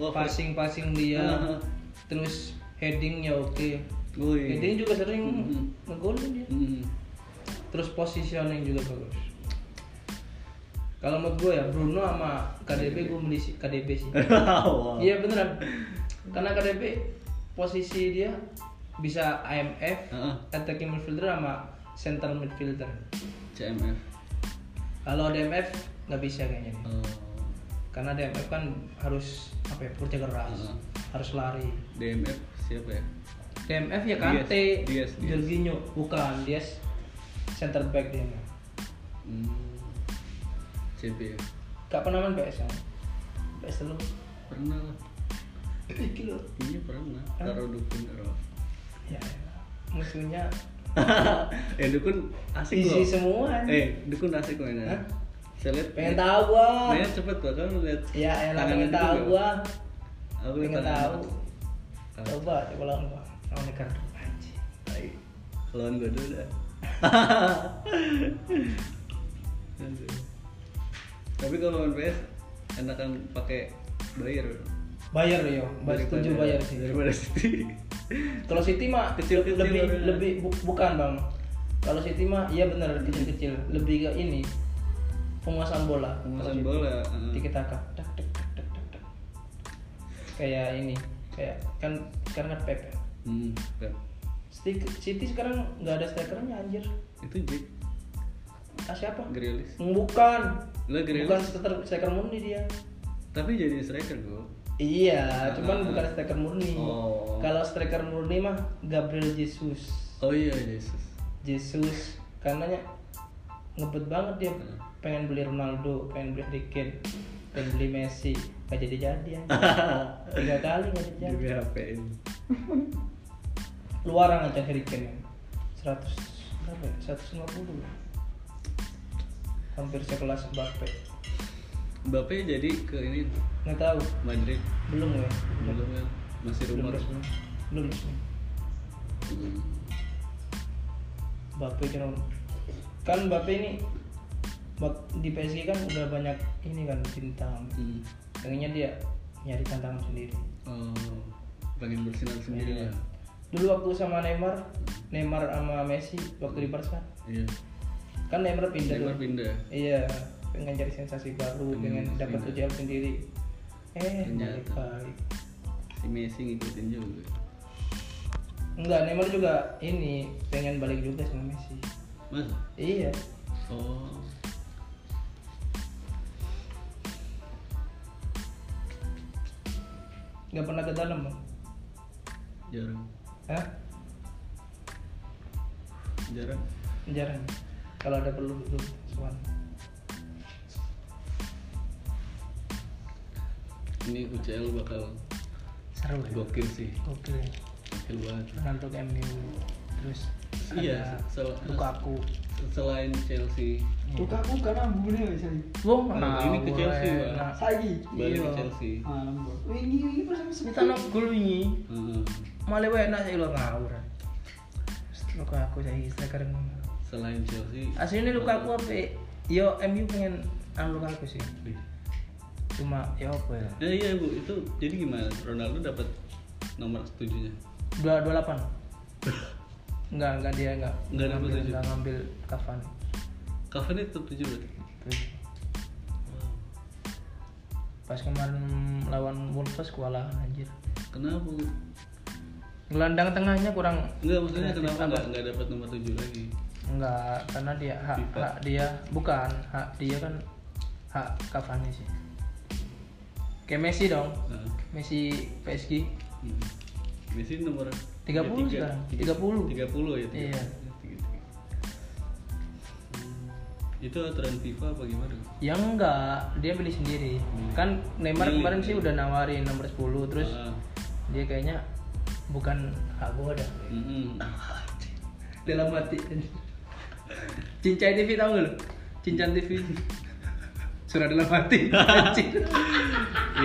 Wah, passing passing dia Ah. terus headingnya oke Woi. heading juga sering Mhm. ngegolin dia Hmm. terus positioning juga bagus kalau menurut gue ya Bruno sama KDB gue beli sih- KDB sih Wah. iya beneran karena KDB posisi dia bisa IMF Heeh. attacking midfielder sama center midfielder CMF kalau DMF nggak bisa kayaknya nih. Eh, karena DMF kan harus apa ya kerja keras Heeh. harus lari DMF siapa ya DMF ya Dias, Kante Dias, Dias. Jorginho bukan dia center back dia hmm, CP ya gak pernah main PS kan PS lu pernah lah iki lo iya pernah Hah? taruh dukun taruh ya elah. musuhnya eh dukun asik Isi loh semua, anjing. eh dukun asik mainnya Hah? saya lihat pengen tahu gua mainnya cepet bahkan lu lihat ya elah tangan pengen dukun tahu nggak? gua aku lihat pengen tangan tahu Tangan. coba coba lawan gua lawan Ricardo anjing Tai. Lawan gue dulu dah. Aduh. Tapi kalau lawan PS enakan pakai Bayer. bayar yo bayar setuju Daripada- bayar sih Daripada City. Kalau City mah Kecil-kecil ya. lebih orangnya. lebih bu- bukan bang. Kalau City mah iya benar kecil-kecil, lebih ke ini penguasaan bola. Penguasaan bola, heeh. Tiki taka. Dak, dak, dak, dak, dak, dak. Kayak ini, kayak kan sekarang kan Pep. ya. Hmm, kan. City, City sekarang nggak ada strikernya anjir. Itu Jack Ah siapa? Grealish. Bukan. Lah, Grealish. Bukan striker striker murni dia. Tapi jadi striker gue. Iya, Ah. cuman bukan striker murni. Oh. Kalau striker murni mah Gabriel Jesus. Oh iya Yesus. Jesus karena ya ngebet banget dia Hmm. pengen beli Ronaldo pengen beli Harry Kane pengen beli Messi gak jadi jadi ya tiga kali gak jadi jadi Juga HP ini. luaran aja Harry Kane men. 100 berapa ya 150 ya. hampir sekelas Mbappe Mbappe jadi ke ini nggak tahu Madrid belum ya belum kan? Masih belum rumor. resmi belum resmi Hmm. Mbappe cuma kan Mbappe ini bak- di PSG kan udah banyak ini kan bintang Hmm. pengennya dia nyari tantangan sendiri Oh, pengen bersinar sendiri Iya. ya. dulu waktu sama Neymar Neymar sama Messi waktu di Barca Iya. kan Neymar pindah Neymar tuh. pindah. iya pengen cari sensasi baru Pengen pengen dapat pindah. UCL sendiri eh Ternyata. balik balik Si Messi ngikutin juga. enggak Neymar juga ini pengen balik juga sama Messi Masa? iya Oh. nggak pernah ke dalam bang Jarang. Hah? Jarang. jarang kalau ada perlu itu Swan Ini UCL bakal seru ya gokil sih. gokil ya. Gokil banget. Ronaldo ke MU terus Iya, ada sel- Lukaku Selain Chelsea, Buka aku kan ambune wis saiki. Wong Nah, ini ke Chelsea, eh, Bang. Saiki. balik ke Iya. Chelsea. Ah, lembur. Wingi wingi pas aku Kita nak gol ini Heeh. malah wae enak saya lo ngawur. Luka aku saya striker Selain Chelsea. Aslinya luka aku apa? Yo MU pengen anu luka aku sih. Wih. Cuma ya apa ya? Eh, iya bu, itu jadi gimana? Ronaldo dapat nomor tujuhnya. Dua dua delapan. Enggak enggak dia enggak. Enggak dapat ngambil- tujuh. enggak ngambil kafan. Cavani tetap tujuh berarti. Terus Hmm. pas kemarin lawan Wolves kewalahan anjir. Kenapa? Bu? Gelandang tengahnya kurang Enggak maksudnya kreatif kenapa apa? nggak nggak dapat nomor tujuh lagi? Enggak, karena dia hak, FIFA. hak dia bukan hak dia kan hak Cavani sih. Kayak Messi dong. Nah. Messi PSG Hmm. Messi nomor ya, 30 tiga- sekarang. tiga- 30. 30 ya. Iya. 33. Hmm. Itu aturan FIFA apa gimana? ya enggak, dia pilih sendiri. Hmm. Kan Neymar Milih, kemarin sih milih. udah nawarin nomor 10 terus Ah, dia kayaknya bukan hak gua dah. mm-mm. Dalam hati. Cincai TV tahu enggak lu? Cincan TV. Surat dalam hati.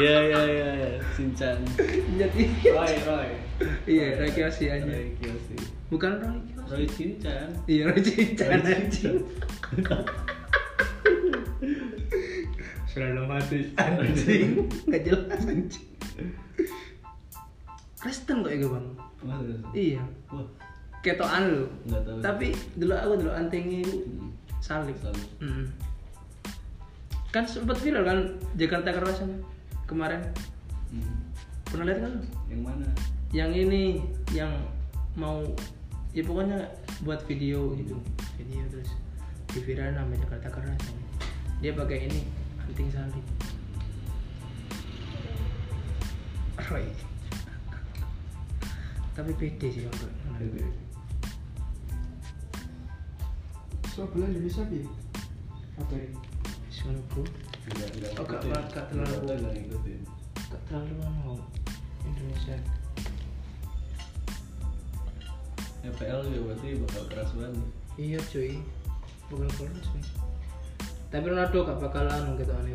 Iya iya iya iya. Sinchan. Cincan TV. Roy Roy. Iya, Roy Kiyoshi aja. Roy Kiyoshi. Bukan Roy. Kiyoshi. Roy Sinchan. Iya, Roy Cincan Roy anjing. Sudah dalam hati. anjing nggak jelas anjing Kristen kok ya gue bang iya Wah, ketoan lu nggak tahu. tapi dulu aku dulu antingnya Hmm. salib Salib. Mm. kan sempat viral kan Jakarta Keras yang kemarin Hmm. pernah lihat kan lu? Yang mana? yang ini yang mau ya pokoknya buat video gitu video terus di viral nama Jakarta keras dia pakai ini anting salib Roy tapi pede sih aku ya. so bola Indonesia bi apa ini Soalnya bro, Oh, gak gak terlalu. gak terlalu mau Indonesia EPL juga berarti bakal keras banget. iya cuy bukan keluar cuy tapi Ronaldo gak bakalan gitu aneh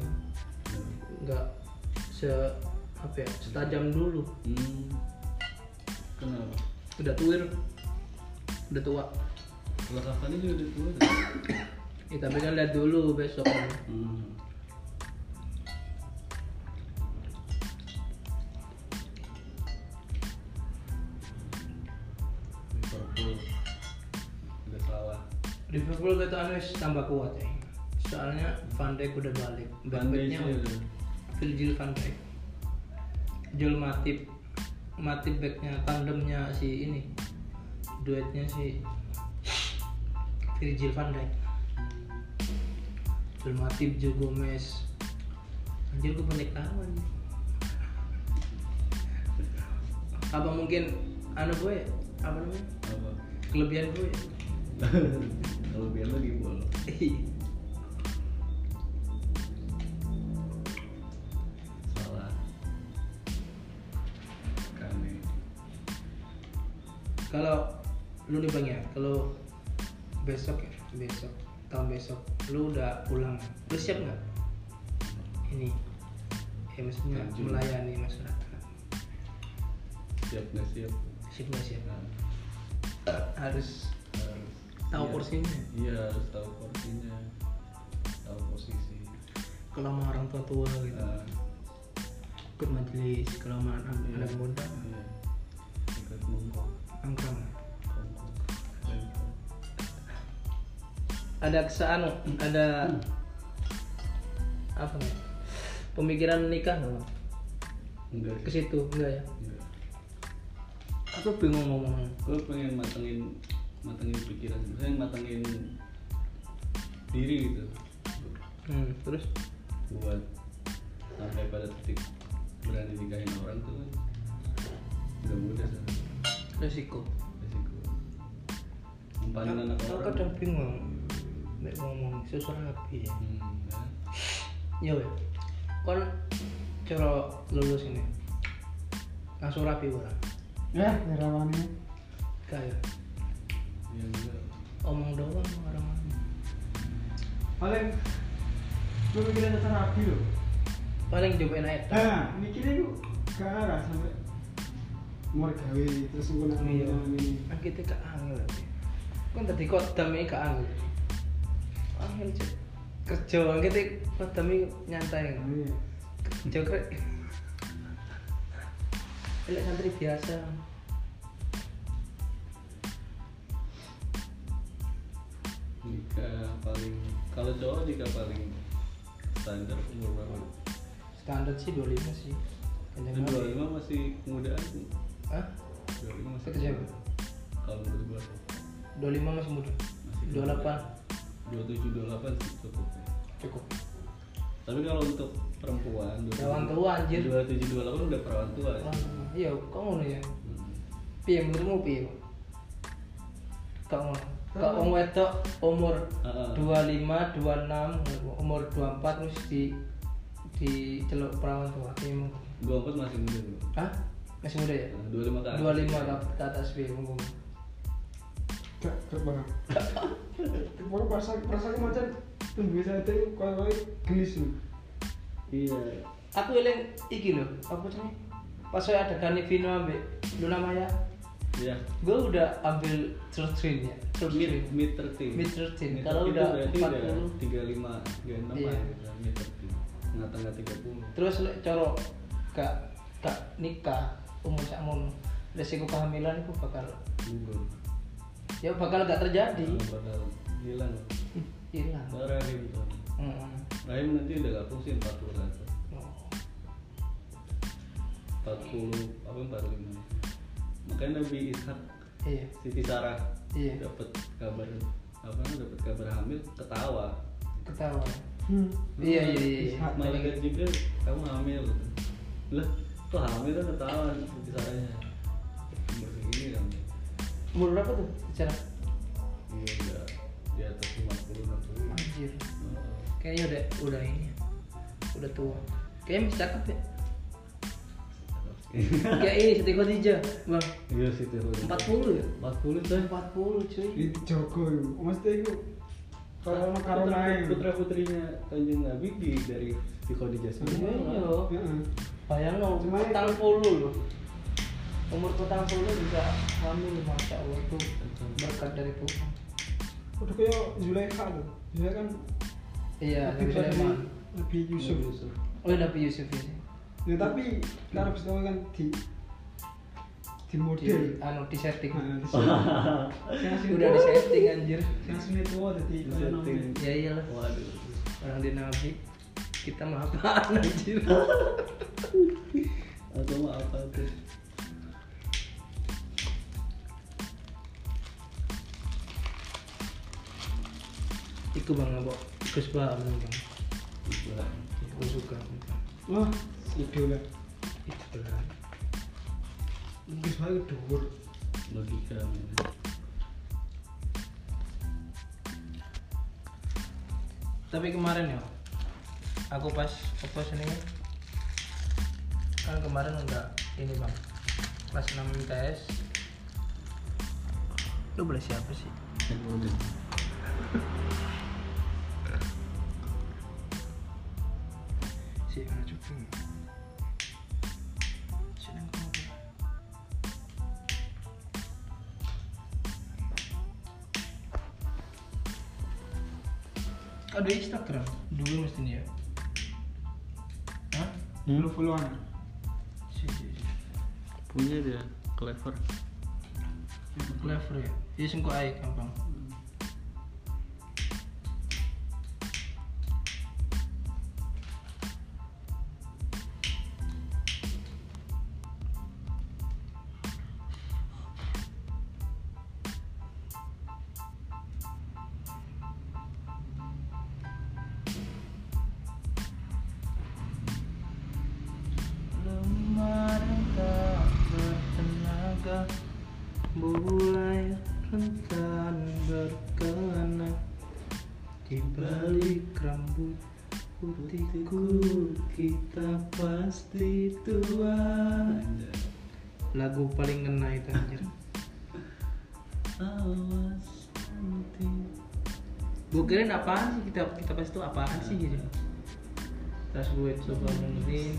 nggak se apa ya setajam dulu Hmm. Kenapa? udah tuir udah tua Kalau Cavani juga udah tua. kan? ya, tapi kan lihat dulu besok Hmm. Liverpool udah salah. Liverpool kata Anes tambah kuat ya soalnya Van Dijk udah balik Van Dijk backnya sih udah. Virgil Van Dijk Joel Matip Matip backnya tandemnya si ini duetnya si Virgil Van Dijk Joel Matip Joe Gomez anjir gue pendek tangan apa mungkin anu gue apa namanya Apa? kelebihan gue ya? Kalau gitu, biar lagi bola. Salah. Kan Kami. kalau lu nih bang ya kalau besok ya besok tahun besok lu udah pulang lu siap nggak ini ya maksudnya Lanjut. melayani masyarakat Siap nggak siap? siap nggak siap Nah, harus harus. tahu Iya. porsinya Iya harus tahu porsinya. Tahu posisi. kalau sama orang tua tua gitu Nah, ikut majelis kalau sama anak Iya. anak muda iya. Dekat Mongkok. angkrang Mongkok. Mongkok. ada kesaan ada apa nggak? pemikiran menikah nggak Bang? Enggak Iya. ke sih. situ enggak ya Enggak. aku bingung ngomongnya gue pengen matengin matengin pikiran saya matengin diri gitu hmm, terus buat sampai pada titik berani nikahin orang tuh kan nggak mudah kan resiko resiko mempanin anak Nah, Aku orang kadang bingung Mek ngomong susah rapi ya hmm, Ya ya. weh Kon cara lulus ini Langsung rapi ora ya herawani Kayak ya enggak omong doang orang paling gue mikirnya tetap rapi loh Paling coba enak eta nah mikirnya gue ke arah sampai mau gawe terus gue nak Iya ini Kan kita gak angel ya, Weh. Kan tadi kodam ini gak angel Angel Cuk. Kerja kita kodam ini nyantai Iya. Kerja krek Elek santri biasa nikah paling kalau cowok nikah paling standar umur berapa Standar sih 25 sih itu Kenceng dua banget. lima masih kemudaan tuh Hah? dua lima masih Itu siapa? kemudaan. kalau menurut gue 25 masih muda Masih 28 dua tujuh dua delapan sih cukup ya. cukup Tapi kalau untuk perempuan Perawan tua, anjir. 2728 udah perawan tua ya? Wah, iya kok ngono ya Hmm. piye menurutmu piye kok ngono kok wong wedok umur Heeh. 25 26 umur 24 terus di di celuk perawan tua piye mung 24 masih muda Nah, tuh. Hah? masih muda ya Nah, 25 ke atas. 25 ke- ke atas piye mung Gak, gak banget. Pokoknya perasaan perasaan macam tunggu santai kalau lagi gelis lu. Iya. aku eling iki lho apa sih pas saya ada Dani Vino ambek Luna Maya Iya. gue udah ambil third screen ya third screen Mid mid 13. Mid 13. Mid Kalau 13 udah 40. berarti udah 35 36 Iya. lah ya, mid Nah, 13. Tengah-tengah 30. terus lek coro gak gak nikah umur sak mono resiko kehamilan itu bakal Google. ya bakal gak terjadi Kalau bakal hilang. Ih, hilang Kalau rahim tuh. Heeh. Rahim nanti udah gak fungsi 40 ke atas. Oh. 40 apa 45. Makanya Nabi Ishak iya Siti Sarah Iya. dapat kabar apa dapat kabar hamil ketawa ketawa iya iya iya malaikat Jibril kamu hamil gitu. lah tuh hamil tuh ketawa Siti Sarahnya umur segini kan. Iya, hamil umur berapa tuh bicara iya udah di atas 50 60 anjir Heeh. kayaknya udah udah ini ya. udah tua kayaknya masih cakep ya kayak ini Siti Khadijah bang Iya sih itu. 40 ya 40 coy. 40 cuy Itu Joko itu. Maksudnya itu kalau sama karo naik. putra putrinya kanjeng Nabi di dari di Khadijah Iya, sendiri. iya. Heeh. Bayang lo, Cuma- petang puluh loh. Umur petang puluh bisa hamil, masya Allah tuh berkat dari Tuhan. Udah kayak Zulaikha tuh. Zulaikha kan Iya, lebih Nabi dari Sulaiman. lebih Yusuf. Oh, iya, Nabi Yusuf ini. Nah, tapi karena Mustafa kan di di Di, model. anu, di setting. Nah, di sini. Yang Udah di setting anjir. Yang sini tua jadi kayak Setting. namanya. Ya iyalah, Waduh. orang di Nabi. Kita mah apaan anjir. Atau mau apa tuh? Iku bang abok, iku sebab bang. Bang. Ibarat. Iku suka. Bang. Wah, ide lah. Itu benar. Mungkin soalnya dhuwur. Logika men. Tapi kemarin ya, aku pas fokus ini kan kemarin udah ini bang kelas 6 ITS lu boleh siapa sih Cek dulu deh. si mana cukup sedang kamu ada Instagram dulu mestinya ya Hah? Dulu followan. Si, si, si. Punya dia clever. Clever ya? Iya sing kok ae gampang. Lemari tak bertenaga mulai rentan berkelana di balik rambut putihku kita pasti tua Anjay. lagu paling ngena itu anjir Awas nanti. gue kirain apaan sih kita kita pas itu apaan sih gitu terus gue coba dengerin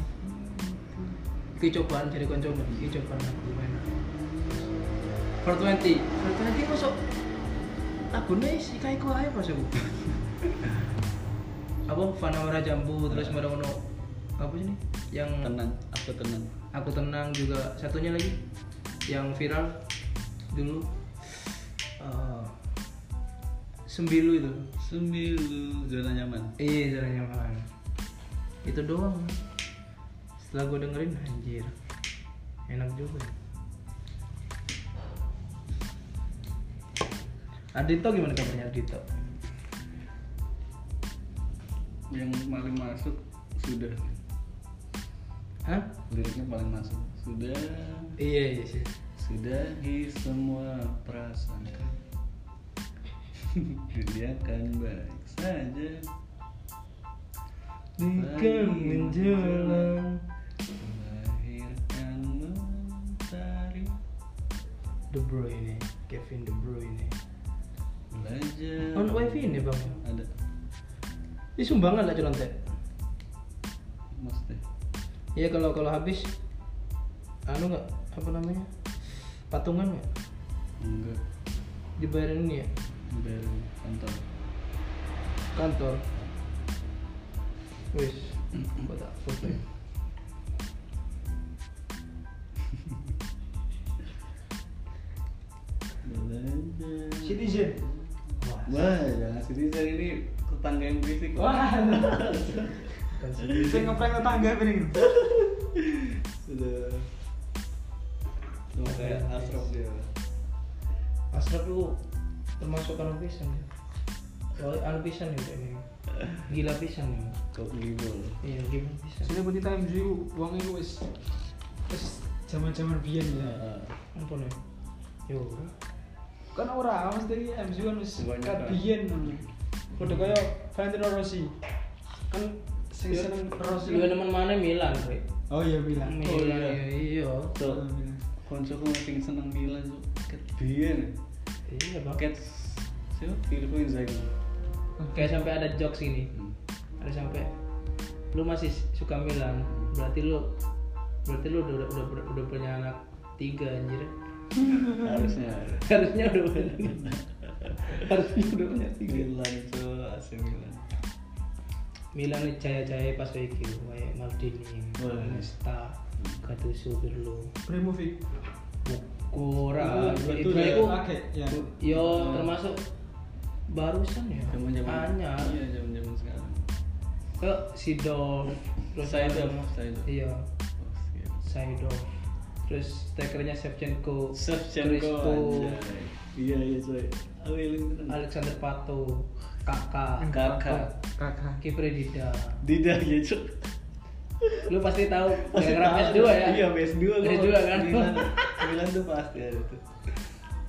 itu cobaan jadi kan coba itu cobaan lagu enak for twenty for twenty masuk lagunya isi kayak gue aja pas aku apa fana merah jambu terus merah ono apa sih nih yang Tenang, aku tenang. aku tenang juga satunya lagi yang viral dulu Eh, sembilu itu Sembilu zona nyaman. Iya cara nyaman Itu doang Setelah gue dengerin anjir Enak juga Ardito gimana kabarnya Ardito? Yang paling masuk sudah. Hah? Liriknya paling masuk. Sudah Iya iya sih Sudahi semua prasangka Dunia akan baik saja Nikah menjelang. Melahirkan mentari De Bruyne Kevin De Bruyne Belajar On wifi ini bang Ada Ini sumbangan lah celontek Mas deh Iya kalau kalau habis Anu nggak apa namanya Patungan nggak Enggak Dibayarin ini ya Dari kantor kantor wis buat tak foto Belajar Citizen. Wah jangan Citizen ini tetangga yang berisik Wah. Bukan Saya ngeprank tetangga apa nih? Sudah Cuma kayak asrop dia Asrap itu termasuk anu pisan ya. Soalnya anu pisan ya ini. Gila pisan ya. kok gimana Iya, gila pisan. Soalnya berarti time dulu uangnya itu wis wis zaman-zaman biyen ya. Iya. Ampun ya. Yo. Kan ora mesti MCU kan wis Banyak kan kan. biyen ngono. Kudu kaya Valentino Rossi. Kan sing Yo- seneng Rossi. Yo teman mana Milan, Rek. Oh iya bilang. Oh, Milan iya. ya iya. tuh konco aku sing seneng Milan tuh ket biyen Iya, Bang. ket siapa Filippo Inzaghi Kayak sampai ada jokes ini. Hmm. Ada sampai lu masih suka Milan. Berarti lu berarti lu udah udah, udah, udah punya anak tiga anjir. harusnya Harusnya udah punya. Harusnya udah punya tiga. Milan itu AC Milan Milan ini cahaya-cahaya pas kayak gitu, kayak Maldini, Wah. Nesta, Gattuso, Pirlo, Bremovic. Kora, Betul, itu ya. itu Oke, ya. yo termasuk barusan ya, zaman zaman Anyar. iya zaman zaman sekarang ke Sidor, Saidov, ada- Saidov. iya Oh, sekian. Saidov, terus strikernya Shevchenko, Cristo, Shevchenko anjay. iya iya coy aku kan? eling tenan. Alexander Pato, Kakak, Kakak. Kakak. Kipre Dida, Dida ya cok lu pasti tahu program S2 ya, iya PS2 gua. S2 kan, Milan Milan tuh pasti ada tuh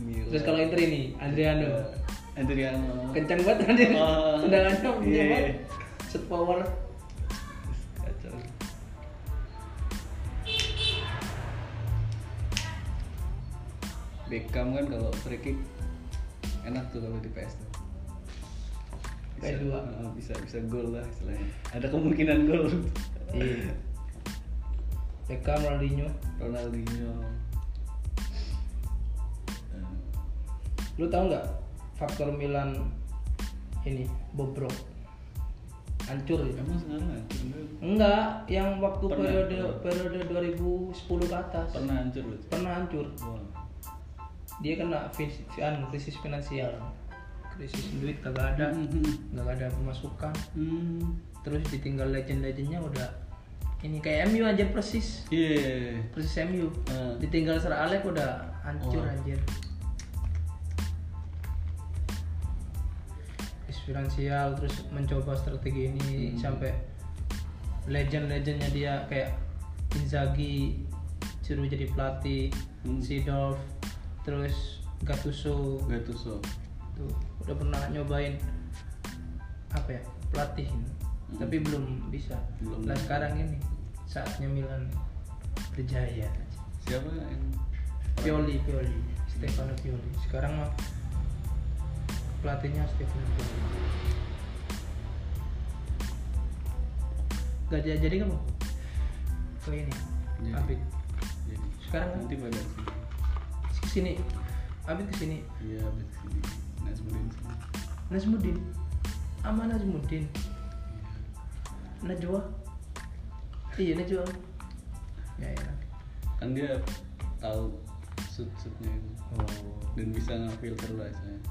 Iya. Milan. terus kalau Inter ini Adriano. Adriano kencang banget tadi Ah, tendangannya punya iya. banget set power kacau Beckham kan kalau free kick enak tuh kalau di PS tuh Bisa- PS2. Heeh, bisa bisa gol lah istilahnya ada kemungkinan gol Iya. Beckham Ronaldinho Ronaldinho Eh, lu tahu nggak faktor Milan ini bobrok hancur ya emang sekarang hancur nggak? enggak yang waktu Pernah, periode pernah. periode 2010 ke atas pernah hancur loh Cok. pernah hancur Wah. dia kena fin- anu, krisis finansial krisis duit kagak ada nggak ada pemasukan Hmm. terus ditinggal legend-legendnya udah ini kayak MU aja persis Iya. persis MU Hmm. Eh, ditinggal Sir Alex udah hancur Oh. anjir Terus finansial terus mencoba strategi ini Hmm. sampai legend-legendnya dia kayak Inzaghi suruh jadi pelatih Hmm. Sidorf terus Gattuso Gattuso. tuh udah pernah nyobain apa ya pelatih tapi belum bisa Hmm. Belum. nah sekarang ini saatnya Milan berjaya Siapa yang? Pioli Pioli Stefano Pioli sekarang mah pelatihnya Stefano Pioli gak jadi jadi kamu ke ini Jadi. Abid Jadi. Sekarang kan? nanti pada sini. kesini Abid kesini Iya, Nah, Abid sini. Nazmudin sini. Najmudin sama Najmudin Najwa iya Najwa ya ya Kan dia tahu sud-sudnya itu Oh. dan bisa ngefilter lah istilahnya.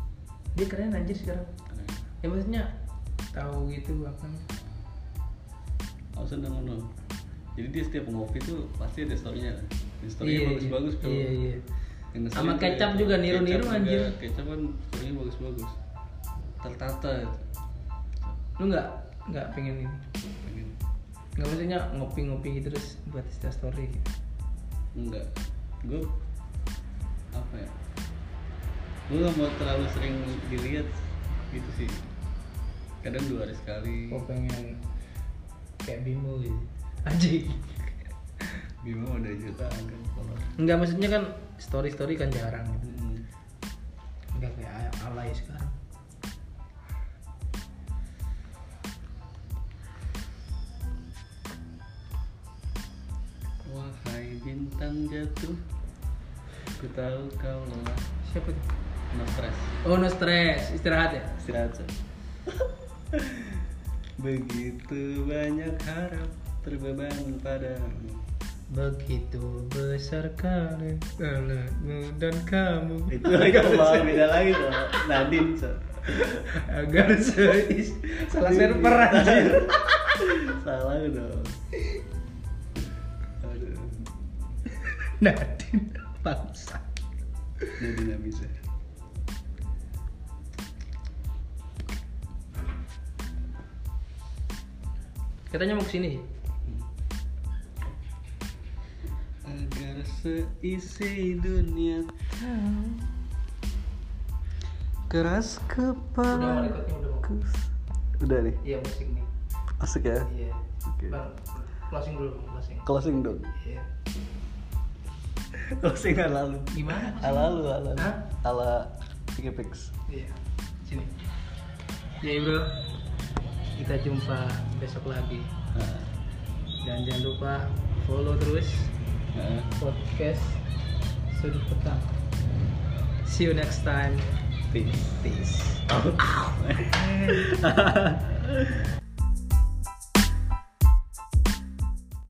dia keren anjir sekarang Keren. ya maksudnya tahu gitu apa Aku seneng ngono. Jadi dia setiap ngopi tuh pasti ada story-nya kan. Dan story-nya bagus-bagus iya, iya iya Yang ngeselin Sama tuh kecap ya, juga, niru-niru kecap juga. anjir. Kecap kan story-nya bagus-bagus. Tertata. gitu. lu nggak nggak pengen ini Pengen nggak maksudnya ngopi-ngopi gitu terus buat Insta story gitu. enggak gue apa ya gue gak mau terlalu sering dilihat gitu sih kadang dua hari sekali Gua pengen kayak Bimo gitu anjing Bima udah jutaan kan follower nggak maksudnya kan story story kan jarang gitu Hmm. nggak kayak alay sekarang wahai bintang jatuh ku tahu kau lelah siapa tuh no stress Oh no stress, istirahat ya? istirahat Shay. begitu banyak harap terbeban padamu Begitu besar kali alatmu dan kamu itu lagi mau beda lagi tuh Nadine so. Agar seis Iya. Salah server anjir salah dong aduh Nadine Bangsa jadi nggak bisa Katanya mau kesini sih. agar seisi dunia keras Udah mau kepala recordnya udah mau. udah nih Iya musik nih. asik ya Iya. Oke. Bang, closing dulu bang, closing. closing dong Iya. closing ala lu Gimana? closing? ala lu ala lu Hah? ala Pikepix Iya. Sini. Jadi bro, kita jumpa besok lagi Nah, dan jangan lupa follow terus nah. podcast sudut petang. See you next time. peace Peace.